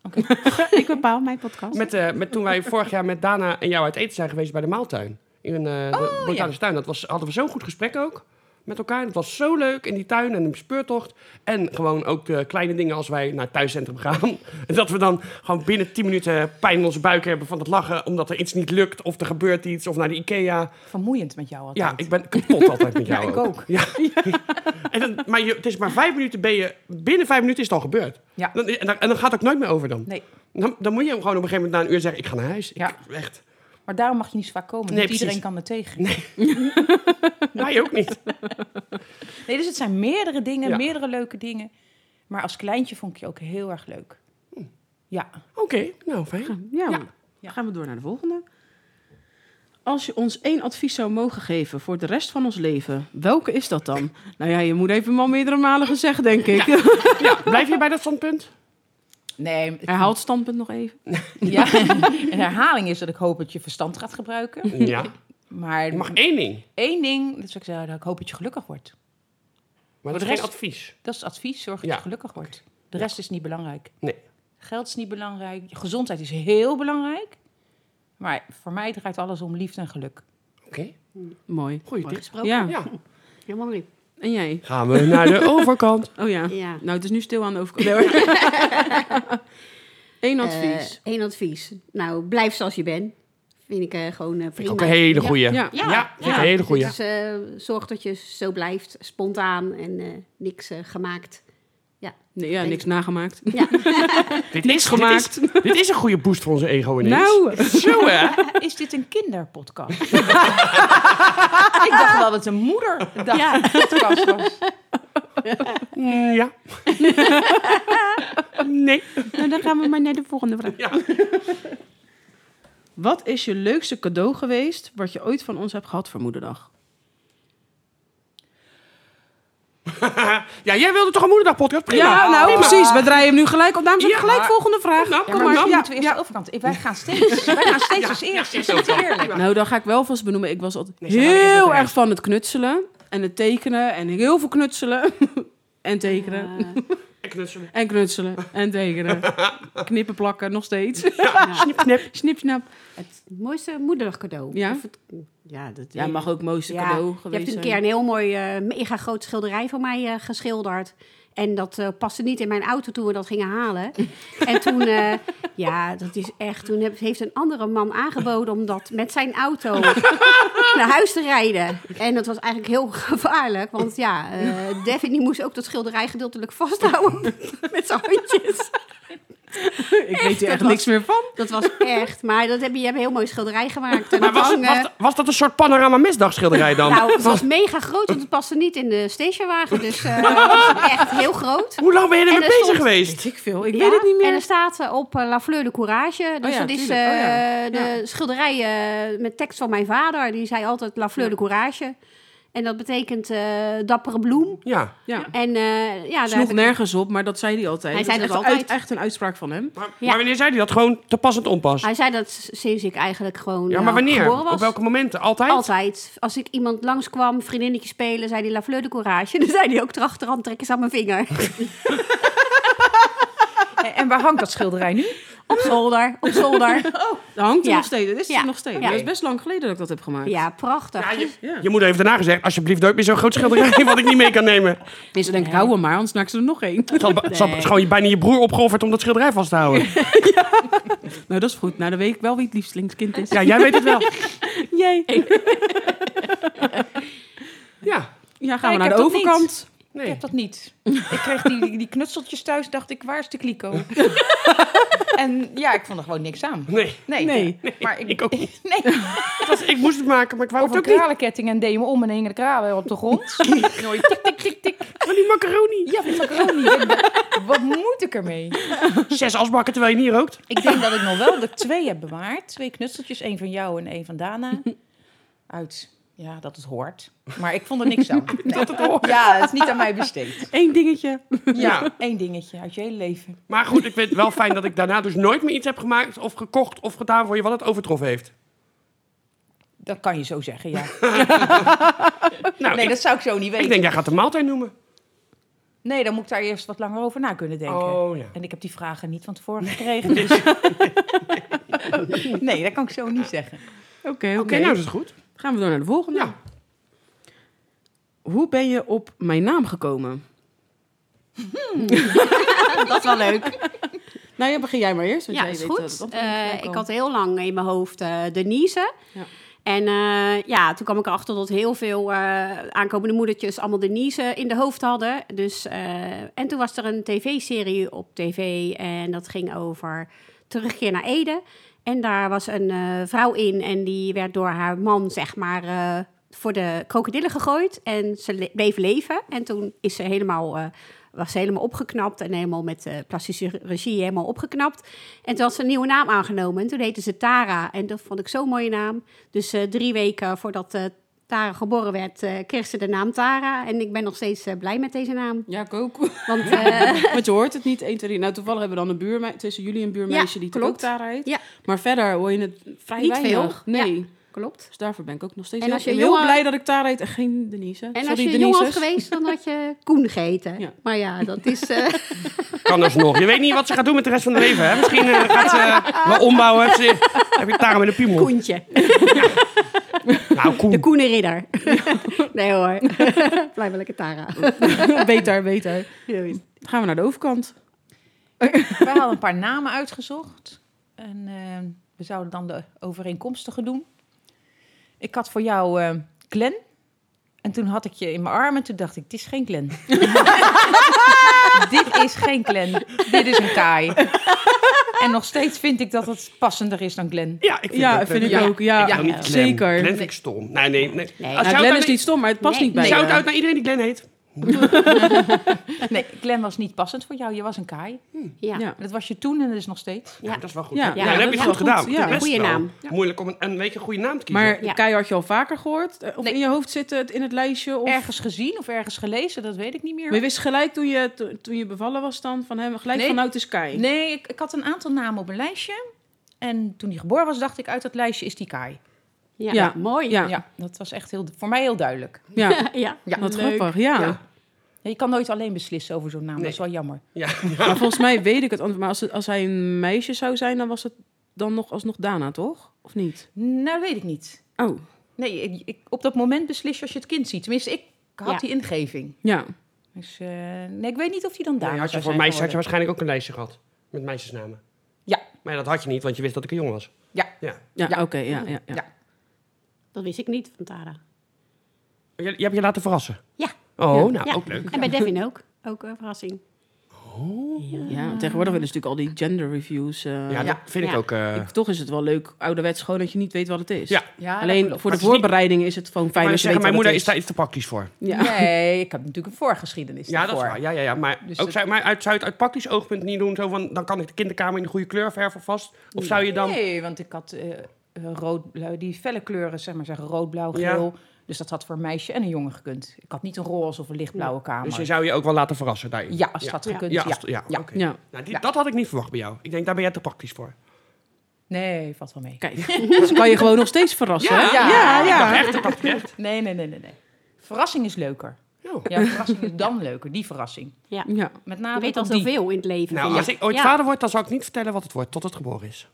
Ik bepaal mijn podcast. Met, eh, met, toen [laughs] wij vorig jaar met Dana en jou uit eten zijn geweest bij de Maaltuin. In eh, de Oh, Botanische Tuin. Dat was, hadden we zo'n goed gesprek ook met elkaar. Het was zo leuk in die tuin en de speurtocht. En gewoon ook de kleine dingen als wij naar het thuiscentrum gaan. [laughs] En dat we dan gewoon binnen 10 minuten pijn in onze buik hebben van het lachen. Omdat er iets niet lukt of er gebeurt iets. Of naar de Ikea. vermoeiend met jou altijd. Ja, ik ben kapot altijd met jou Ja, ik ook. [laughs] Ja. En dan, maar je, het is maar vijf minuten ben je... Binnen vijf minuten is het al gebeurd. Ja. Dan, en, dan, en dan gaat het ook nooit meer over dan. Nee, Dan, dan moet je hem gewoon op een gegeven moment na een uur zeggen: Ik ga naar huis. Ik, Ja. [laughs] Echt. maar daarom mag je niet zo vaak komen. Nee, want precies. iedereen kan me tegen. Wij ook [laughs] niet. Nee, dus het zijn meerdere dingen, Ja. meerdere leuke dingen. Maar als kleintje vond ik je ook heel erg leuk. Hm. Ja, Oké, nou fijn. Ja. Ja. Dan gaan we door naar de volgende. Als je ons één advies zou mogen geven voor de rest van ons leven, welke is dat dan? Nou ja, je moet even al meerdere malen gezegd, denk ik. [laughs] Ja, blijf je bij dat standpunt? nee. het- Herhaal het standpunt nog even. Ja. [laughs] Een herhaling is dat ik hoop dat je verstand gaat [laughs] gebruiken. Ja. Maar Je mag één ding, één ding, dat zou ik zeggen, dat ik hoop dat je gelukkig wordt. maar dat is de geen rest- advies. Dat is het advies. Zorg dat Ja. je gelukkig wordt. De rest is niet belangrijk. Nee. Geld is niet belangrijk. Je Gezondheid is heel belangrijk. Maar voor mij draait alles om liefde en geluk. Oké, Mooi. goeie Mooi tip. gesproken. Ja. Ja. Helemaal niet. En jij? Gaan we naar [laughs] de overkant? Oh ja. Ja. Nou, het is nu stil aan de overkant. Nee, hoor. [laughs] Eh, Eén advies. Eén Eh, advies. Nou, blijf zoals je bent. Vind ik eh, gewoon eh prima. Ook een hele goeie. Ja, ja. ja. vind ik een hele goeie. Dus eh, zorg dat je zo blijft, spontaan en eh, niks eh, gemaakt. Nee, ja, niks nagemaakt. Dit Niks is gemaakt. [laughs] Dit is, dit is een goede boost voor onze ego ineens. [laughs] Nou, Zo hè? [laughs] Is dit een kinderpodcast? [laughs] ik dacht wel dat het een moederdag-podcast was. Mm, [laughs] ja. nee. nou, dan gaan we maar naar de volgende vraag. Ja. Wat is je leukste cadeau geweest wat je ooit van ons hebt gehad voor moederdag? ja, jij wilde toch een moederdagpodcast? Prima. Ja, nou Prima. precies. We draaien hem nu gelijk op. Dames en Ja, gelijk maar- volgende vraag. Ja, Kom maar maar. misschien Ja, moeten we eerst ja. de overkant. Wij gaan steeds, wij gaan steeds als eerst. Is dat eerlijk? Nou, dan ga ik wel vast benoemen. Ik was altijd Nee, zeg maar eerst heel wat erg erg. van het knutselen en het tekenen en heel veel knutselen [laughs] en tekenen Eh, Ik dus knutselen. en knutselen en [laughs] tekenen. Knippen plakken nog steeds. Ja. Snip, snip. Snip, snap. Het mooiste moederdag cadeau. Ja? Of het- ja, dat Ja, mag ook mooiste Ja, cadeau Je hebt geweest een zijn. keer een heel mooi, eh, mega groot schilderij van mij eh, geschilderd. En dat eh, paste niet in mijn auto toen we dat gingen halen. en toen, eh, ja, dat is echt. Toen heb- heeft een andere man aangeboden om dat met zijn auto naar huis te rijden. En dat was eigenlijk heel gevaarlijk. Want ja, eh Devin die moest ook dat schilderij gedeeltelijk vasthouden met zijn handjes. Ik weet er echt dat niks meer van. Dat was echt. Maar dat heb je, je hebt een heel mooi schilderij gemaakt. En Maar dat was, hing, eh, was, was dat een soort panorama misdagschilderij dan? [laughs] Nou, het was mega groot, want het paste niet in de stationwagen. Dus eh, het was echt heel groot. Hoe lang ben je En ermee er bezig stond- geweest? Ik veel. Ik Ja, weet het niet En meer. er staat eh, op eh, La Fleur de Courage. Dus ja, dat is tuurlijk. Oh ja. eh, de schilderij eh, met tekst van mijn vader. Die zei altijd La Fleur de Courage. En dat betekent eh, dappere bloem. Ja. Ja. En eh ja, daar heb Sloeg ik- nergens op, maar dat zei hij altijd. Hij dat zei is dat echt, uit- altijd. echt een uitspraak van hem. Maar, Ja. maar wanneer zei hij dat? Gewoon te pas en te onpas? hij zei dat s- sinds ik eigenlijk gewoon Ja, eh, maar wanneer? geboren was. Op welke momenten? Altijd? Altijd. Als ik iemand langskwam, vriendinnetje spelen, zei die La Fleur de Courage. [laughs] Dan zei hij ook erachteraan, trek eens aan mijn vinger. En- En waar hangt dat schilderij nu? op zolder, op [laughs] zolder. Dat hangt er Ja. nog steeds. Dat is er Ja. nog steeds. Ja. Maar Dat is best lang geleden dat ik dat heb gemaakt. Ja, prachtig. Ja, je, Ja. je moeder heeft daarna gezegd, alsjeblieft nooit meer zo'n groot schilderij [laughs] wat ik niet mee kan nemen. En ze denkt, hou hem maar, anders snak ze er nog [laughs] één. Het had, het had Nee. gewoon bijna je broer opgeofferd om dat schilderij vast te houden. nou, dat is goed. Nou, dan weet ik wel wie het lievelingskind is. Ja, jij weet het [laughs] wel. Jij. Ja. Ja, gaan we Nee, naar ik de heb dat niet. overkant. Ik Nee. heb dat niet. Ik kreeg die, die, die knutseltjes thuis, dacht ik, waar is de kliko? en ja, ik vond er gewoon niks aan. Nee. Nee, Nee. maar ik, Ik ook niet. [laughs] nee. Het was- ik moest het maken, maar ik wou het Op ook de niet. kralenketting en deed me om en hingen de kralen op de grond. [laughs] Nooit tik, tik, tik, tik. Maar die macaroni. Ja, vind ik ook niet. Wat moet ik ermee? Zes asbakken terwijl je niet rookt. Ik denk dat ik nog wel de twee heb bewaard. Twee knutseltjes, één van jou en één van Dana. Uit, ja, dat het hoort. Maar ik vond er niks aan. Dat het hoort. Ja, het is niet aan mij besteed. Eén dingetje. Ja, één dingetje uit je hele leven. Maar goed, ik vind het wel fijn dat ik daarna dus nooit meer iets heb gemaakt of gekocht of gedaan voor je wat het overtroffen heeft. Dat kan je zo zeggen, ja. Nou, Nee, ik, dat zou ik zo niet ik weten. denk, jij gaat de maaltijd noemen. Nee, dan moet ik daar eerst wat langer over na kunnen denken. Oh ja. En ik heb die vragen niet van tevoren [laughs] gekregen. Dus... Nee, dat kan ik zo niet zeggen. Oké, Oké, nou is het goed. Gaan we door naar de volgende. Ja. Hoe ben je op mijn naam gekomen? Hmm. [laughs] Dat is wel leuk. Nou ja, begin jij maar eerst. Want Ja, jij is weet goed. dat het antwoord Eh, moet ik komen. had heel lang in mijn hoofd eh Denise. Ja. En eh, ja, toen kwam ik erachter dat heel veel eh, aankomende moedertjes allemaal Denise in de hoofd hadden. Dus, eh, en toen was er een tv-serie op tv en dat ging over terugkeer naar Ede. En daar was een eh, vrouw in en die werd door haar man, zeg maar, eh, voor de krokodillen gegooid. En ze le- bleef leven. En toen is ze helemaal, eh, was ze helemaal opgeknapt en helemaal met eh, plastische regie helemaal opgeknapt. En toen had ze een nieuwe naam aangenomen. En toen heette ze Tara. En dat vond ik zo'n mooie naam. Dus eh, drie weken voordat eh, Tara geboren werd, eh, kreeg ze de naam Tara. En ik ben nog steeds eh, blij met deze naam. Ja, ik ook. [laughs] Want eh, Want je hoort het niet, 1, 2, 3. Nou, toevallig hebben we dan een buurmeisje, tussen jullie een buurmeisje Ja, die klopt. ook Tara heet. Ja. Maar verder hoor je het vrij Niet weinig. veel. Nee. klopt. Dus daarvoor ben ik ook nog steeds En heel, als je ik ben heel jongen- blij dat ik Tara heet en geen Denise. hè. En als Sorry, je Denise. jong was geweest, dan had je Koen gegeten. Ja. Maar ja, dat is... eh, Kan alsnog. Je weet niet wat ze gaat doen met de rest van haar leven. Hè? Misschien eh, gaat ze wel ombouwen. Heb, ze, heb je Tara met een piemel. Koentje. Nou, Koen. De Koene Ridder. [laughs] nee hoor. Blijvelijke Tara. [laughs] beter, beter. Dan gaan we naar de overkant. We hadden een paar namen uitgezocht. En eh, we zouden dan de overeenkomstige doen. Ik had voor jou eh [laughs] Glen. En toen had ik je in mijn arm en toen dacht ik, het is geen Glen. Dit is geen Glen. Dit is een Kai. En nog steeds vind ik dat het passender is dan Glen. Ja, ik vind, Ja, dat, vind ik ja. ook. Ja, Ja, Nou, niet Glenn. zeker. Glenn vind ik stom. Nee, nee. nee. Nee. Ja, Als Glenn is niet stom, maar het past Nee, niet bij nee. je. Shout out naar iedereen die Glenn heet. Nee, Glen was niet passend voor jou. Je was een Kai. Ja. Ja. Dat was je toen en dat is nog steeds. Ja, dat is wel goed. Ja, Ja, ja, dat dat heb je is goed wel goed. gedaan. Ja. Best Goeie wel. naam. Moeilijk om een, een beetje een goede naam te kiezen. Maar Ja. Kai had je al vaker gehoord? eh, Of Nee. in je hoofd zitten het in het lijstje? Of... Ergens gezien of ergens gelezen, dat weet ik niet Maar je meer. wist gelijk toen je, to- toen je bevallen was dan van hem, gelijk Nee. van nou het is Kai. Nee, ik, ik had een aantal namen op een lijstje. En toen hij geboren was, dacht ik uit dat lijstje is die Kai. Ja. Ja. mooi. Ja. Ja, dat was echt heel, voor mij heel duidelijk. Ja, [laughs] ja. Ja. wat Leuk. grappig. Ja. Ja. Ja, je kan nooit alleen beslissen over zo'n naam, Nee. dat is wel jammer. Ja. Maar volgens mij weet ik het antwoord. Maar als, het, als hij een meisje zou zijn, dan was het dan nog alsnog Dana, toch? Of niet? Nou, dat weet ik niet. Oh, Nee, ik, ik- op dat moment beslis je als je het kind ziet. Tenminste, ik had Ja. die ingeving. ja. Dus eh, nee, ik weet niet of die dan daar Nee, was. had je voor meisjes had je waarschijnlijk ook een lijstje gehad. Met meisjesnamen. Ja. Maar dat had je niet, want je wist dat ik een jong was. Ja. ja. Ja, Ja. oké. ja, ja, ja. Ja. Dat wist ik niet van Tara. Je, je hebt je laten verrassen. Ja. Oh, nou, Ja. ook leuk. En bij Devin ook. Ook een verrassing. Ja, tegenwoordig willen ze natuurlijk al die gender reviews. eh, Ja, dat Ja. vind ik Ja. ook... eh, ik- toch is het wel leuk, ouderwets, gewoon dat je niet weet wat het is. Ja. Ja, dat Alleen klopt. voor de Maar het is niet- voorbereiding is het gewoon fijn maar als je zeggen, weet mijn wat moeder het is daar iets te praktisch voor. Ja. Nee, ik heb natuurlijk een voorgeschiedenis Ja, dat is waar. daarvoor. Ja, ja, ja. Maar, Dus ook, dat- zou- maar uit, zou je het uit praktisch oogpunt niet doen? Zo van, dan kan ik de kinderkamer in de goede kleur verven vast. Of zou je dan... Nee, want ik had eh, eh, rood, blauw, die felle kleuren, zeg maar zeggen, rood, blauw, Ja. geel. Dus dat had voor een meisje en een jongen gekund. Ik had niet een roze of een lichtblauwe kamer. Dus je zou je ook wel laten verrassen daarin? Ja, als ja. dat had Ja. gekund, Ja, ja. als- ja, Ja. oké. Ja. Nou, die- Ja. Dat had ik niet verwacht bij jou. Ik denk, daar ben jij te praktisch voor. Nee, valt wel mee. Kijk, [laughs] dus kan je gewoon nog steeds verrassen. hè? Ja. ja. Ik dacht echt te praktisch. Echt. Nee, nee, nee, nee, nee. Verrassing is leuker. Ja. Ja, verrassing is dan leuker. Die verrassing. Ja. ja. Met Je name weet al tot die. zoveel in het leven. Nou, vind als ik. ik ooit Ja. vader word, dan zal ik niet vertellen wat het wordt tot het geboren is.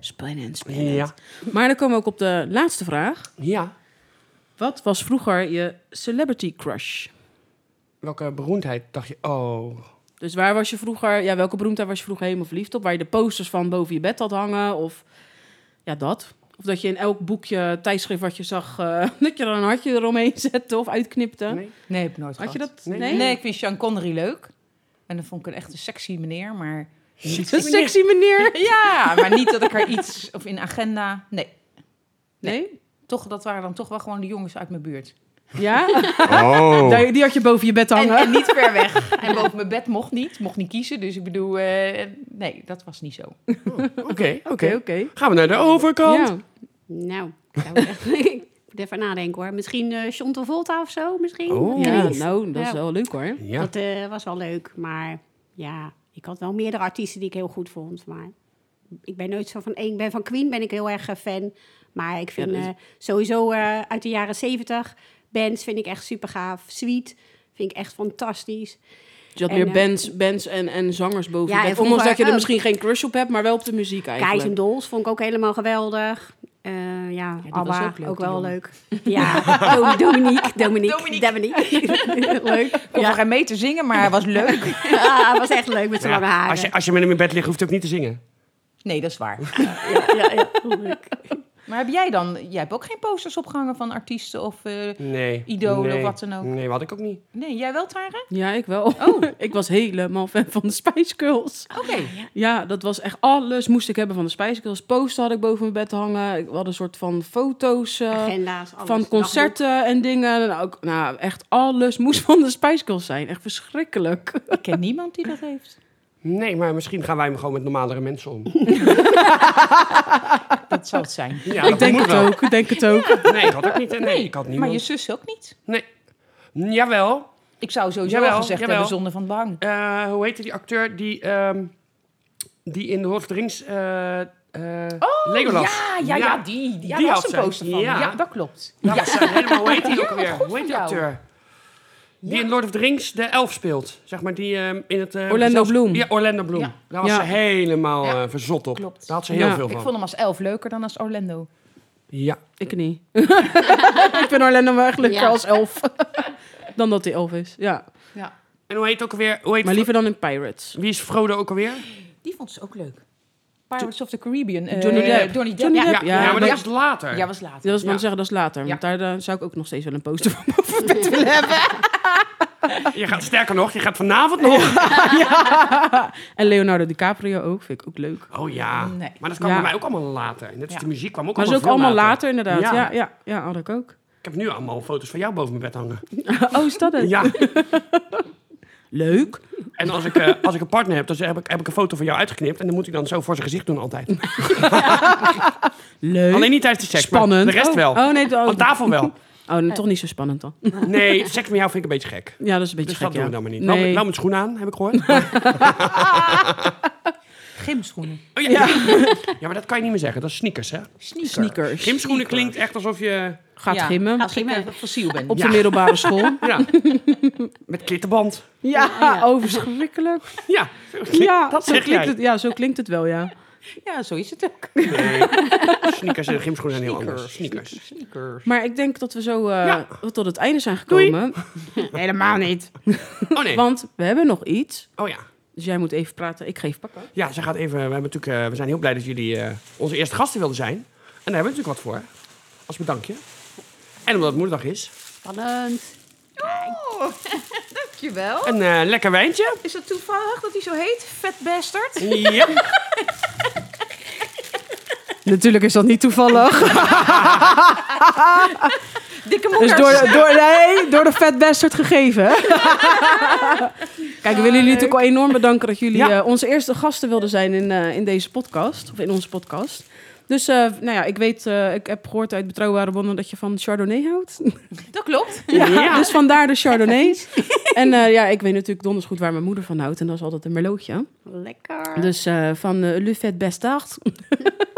Spannend, spannend. Ja. Maar dan komen we ook op de laatste vraag. Ja. Wat was vroeger je celebrity crush? Welke beroemdheid dacht je? Oh. Dus waar was je vroeger, ja, welke beroemdheid was je vroeger helemaal verliefd op? Waar je de posters van boven je bed had hangen of ja, dat. Of dat je in elk boekje, tijdschrift wat je zag, eh, [laughs] dat je er een hartje eromheen zette of uitknipte. Nee. Nee, heb ik nooit Had je gehad. dat? Nee. Nee? ik vind Sean Connery leuk. En dan vond ik een echt een sexy meneer, maar... Een sexy meneer. Ja, maar niet dat ik er iets... Of in agenda... Nee, Nee? toch, dat waren dan toch wel gewoon de jongens uit mijn buurt. Ja? Oh. Daar- Die had je boven je bed En, hangen. en niet ver [laughs] weg. En boven mijn bed mocht niet. Mocht niet kiezen. Dus ik bedoel, eh, nee, dat was niet zo. Oké, Oké, oké. oké. Gaan we naar de overkant? Ja. Nou, zou [laughs] ik echt- ik moet even nadenken hoor. Misschien eh Chantal Volta of zo, misschien. Oh. Ja, Ineens. nou, dat is Ja. wel leuk hoor. Ja. Dat eh, was wel leuk, maar ja, ik had wel meerdere artiesten die ik heel goed vond. Maar ik ben nooit zo van één. Ik ben van Queen, ben ik heel erg eh, fan. Maar ik vind Ja, dat is- eh, sowieso eh, uit de jaren zeventig bands vind ik echt super gaaf. Sweet vind ik echt fantastisch. Dus je had En, meer eh, bands, bands en, en zangers boven Ja, je en oh. bed. vroeger Ondanks dat je er ook. misschien geen crush op hebt, maar wel op de muziek Keizer eigenlijk. en Dolls vond ik ook helemaal geweldig. Eh, ja, die Abba, was ook, ook leuk, die wel jongen. leuk. Ja, [laughs] Do- Dominique, Dominique, Dominique. [laughs] leuk. Kon nog Ja, geen mee te zingen, maar hij was leuk. ah, was echt leuk met zijn lange Ja, haren. als, je, als je met hem in bed ligt, hoeft hij ook niet te zingen. [laughs] Nee, dat is waar. Ja, ja, ja, leuk. Maar heb jij dan... Jij hebt ook geen posters opgehangen van artiesten of... eh, Nee. Idolen nee. of wat dan ook. Nee, wat ik ook niet. Nee, jij wel, Tara? Ja, ik wel. Oh. [laughs] ik was helemaal fan van de Spice Girls. Oké. Ja, dat was echt alles moest ik hebben van de Spice Girls. Poster had ik boven mijn bed hangen. Ik had een soort van foto's eh, Agenda's, alles. van concerten en dingen. En ook, nou, echt alles moest van de Spice Girls zijn. Echt verschrikkelijk. Ik ken niemand die dat heeft. Nee, maar misschien gaan wij hem gewoon met normalere mensen om. Dat zou het zijn. Ja, dat ik denk moet het wel. ook, ik denk het ook. Nee, ik had ook niet. Nee, ik had maar je niemand. zus ook niet. Nee. Jawel, Ik zou sowieso Jawel, wel gezegd jawel. hebben zonder van bang. Eh, hoe heette die acteur die, ehm, die in de Lord of the Rings... eh, eh, Legolas. Ja, ja, ja, die. die, ja, Die daar had was zij. een poster van. Ja. Ja, dat klopt. Dat was zij helemaal, hoe heet die ook alweer? goed Hoe heet die voor jou. acteur? Die in Lord of the Rings de elf speelt. Zeg maar, die ehm, in het... eh, Orlando gezels- Bloom. Ja, Orlando Bloom. Ja. Daar was Ja. ze helemaal Ja. eh, verzot op. Klopt. Daar had ze heel Ja. veel Ik van. vond hem als elf leuker dan als Orlando. Ja. Ik niet. [laughs] ik vind Orlando wel echt leuker Ja. als [laughs] elf. dan dat hij elf is, ja. Ja. En hoe heet ook alweer... Hoe heet Maar liever dan in Pirates. Wie is Frodo ook alweer? Die vond ze ook leuk. Pirates of the Caribbean. eh, Johnny Depp. Johnny Depp. Johnny ja. Depp. Ja, ja, maar dat ja. is later. Ja, was later. Dat was Ja. maar zeggen, dat is later. Want daar eh, zou ik ook nog steeds wel een poster van Je gaat sterker nog, je gaat vanavond nog. En Leonardo DiCaprio ook, vind ik ook leuk. Oh ja, Nee. maar dat kwam Ja. bij mij ook allemaal later. Net als Ja. de muziek kwam ook Maar dat is allemaal ook allemaal veel later, inderdaad. Ja. Ja. Ja, ja, had ik ook. [laughs] Ik heb nu allemaal foto's van jou boven mijn bed hangen. Oh, is dat het? Ja, Leuk. en als ik, eh, als ik een partner heb, dan heb ik, heb ik een foto van jou uitgeknipt. En dan moet ik dan zo voor zijn gezicht doen altijd. Leuk. Alleen niet tijdens de seks, maar spannend. de rest Oh, wel. Oh, nee, oh, Aan tafel [laughs] wel. oh, nee, toch niet zo spannend dan. Nee, seks met jou vind ik een beetje gek. Ja, dat is een beetje Dus gek, dat ja. doen we dan maar niet. Nou, Nee. met- nou met schoenen aan, heb ik [laughs] gehoord. Oh, Maar- Gymschoenen. Oh, ja. Ja. maar dat kan je niet meer zeggen. Dat is sneakers, hè? Sneaker. Sneakers. Gymschoenen klinkt echt alsof je Gaat Ja, gimmen. Als ik eh, fossiel ben. Op Ja. de middelbare [laughs] school. [laughs] ja, met klittenband. Ja, ja. oh, [laughs] verschrikkelijk. Ja, Ja, dat zo zeg jij. klinkt het, ja, zo klinkt het wel, ja. Ja, zo is het ook. Nee, sneakers en gymschoenen zijn heel anders. Sneakers. Sneakers. Maar ik denk dat we zo eh, Ja. tot het einde zijn gekomen. Helemaal niet. Oh nee. Want we hebben nog iets. Oh ja. Dus jij moet even praten. Ik geef pakken. Ja, ze gaat even. We, hebben natuurlijk, eh, we zijn heel blij dat jullie eh, onze eerste gasten wilden zijn. En daar hebben we natuurlijk wat voor. Als bedankje. En omdat het moederdag is. Spannend. Dankjewel. Een eh, lekker wijntje. Is dat toevallig dat hij zo heet? Fat Bastard? Ja. Natuurlijk is dat niet [laughs] toevallig. Dikke Dus moeders. door, door, nee, door de Fat Bastard gegeven. hè? [laughs] Kijk, we willen jullie natuurlijk al enorm bedanken dat jullie Ja. eh, onze eerste gasten wilden zijn in, eh, in deze podcast. Of in onze podcast. Dus eh, nou ja, ik weet, eh, ik heb gehoord uit Betrouwbare Bronnen dat je van Chardonnay houdt. Dat klopt. [laughs] Ja, Ja. [laughs] Dus vandaar de Chardonnay. En eh, ja, ik weet natuurlijk donders goed waar mijn moeder van houdt. En dat is altijd een merlotje. Lekker. Dus eh, van eh Le Fête Bastard. Lekker.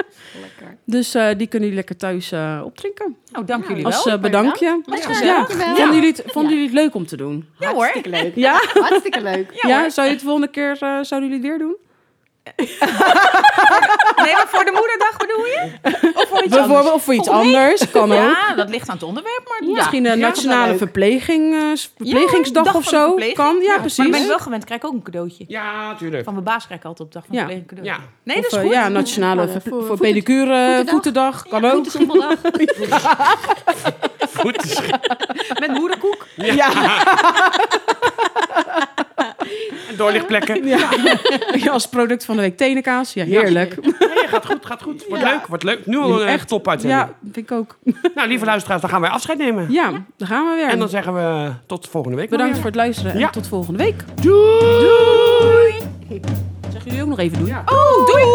Dus eh, die kunnen jullie lekker thuis eh, opdrinken. Nou, dank Ja. jullie wel. Als eh, bedankje. Was gezellig. Ja. Dankjewel. Vonden jullie het, vonden jullie het leuk om te doen? Ja hoor. Hartstikke leuk. Ja? Hartstikke leuk. Ja, zou je het volgende keer eh, zouden jullie het weer doen? Nee, maar voor de moederdag bedoel je? [laughs] Of voor iets anders? Bijvoorbeeld, of voor iets anders, kan ook. Ja, dat ligt aan het onderwerp, maar ja. Misschien een ja, wel nationale leuk. verpleging, eh, s- verplegingsdag dag of van de zo. verpleging. Kan, ja, Maar dan ben precies. ik wel gewend, krijg ik ook een cadeautje. Ja, tuurlijk. Van mijn baas krijg ik altijd op dag van Ja. verpleging een cadeautje. Ja. Nee, dat Of, is eh, goed. ja, nationale Voor- ver- voor- voor, voeten- pedicure, eh, voetendag. voetendag, kan ook. [laughs] Voetenschimmeldag. Goed. Met moederkoek. En doorlichtplekken. Ja. Ja, [laughs] als product van de week tenenkaas. Ja, Ja. heerlijk. Nee, gaat goed, gaat goed. Wordt leuk, wordt leuk. Nu al een echt top Ja, vind ik ook. Nou, lieve luisteraars, dan gaan wij afscheid nemen. Ja, daar gaan we weer. En dan zeggen we tot volgende week. Bedankt voor het luisteren en Ja. tot volgende week. Doei! Zeggen jullie ook nog even doen? Oh, doei!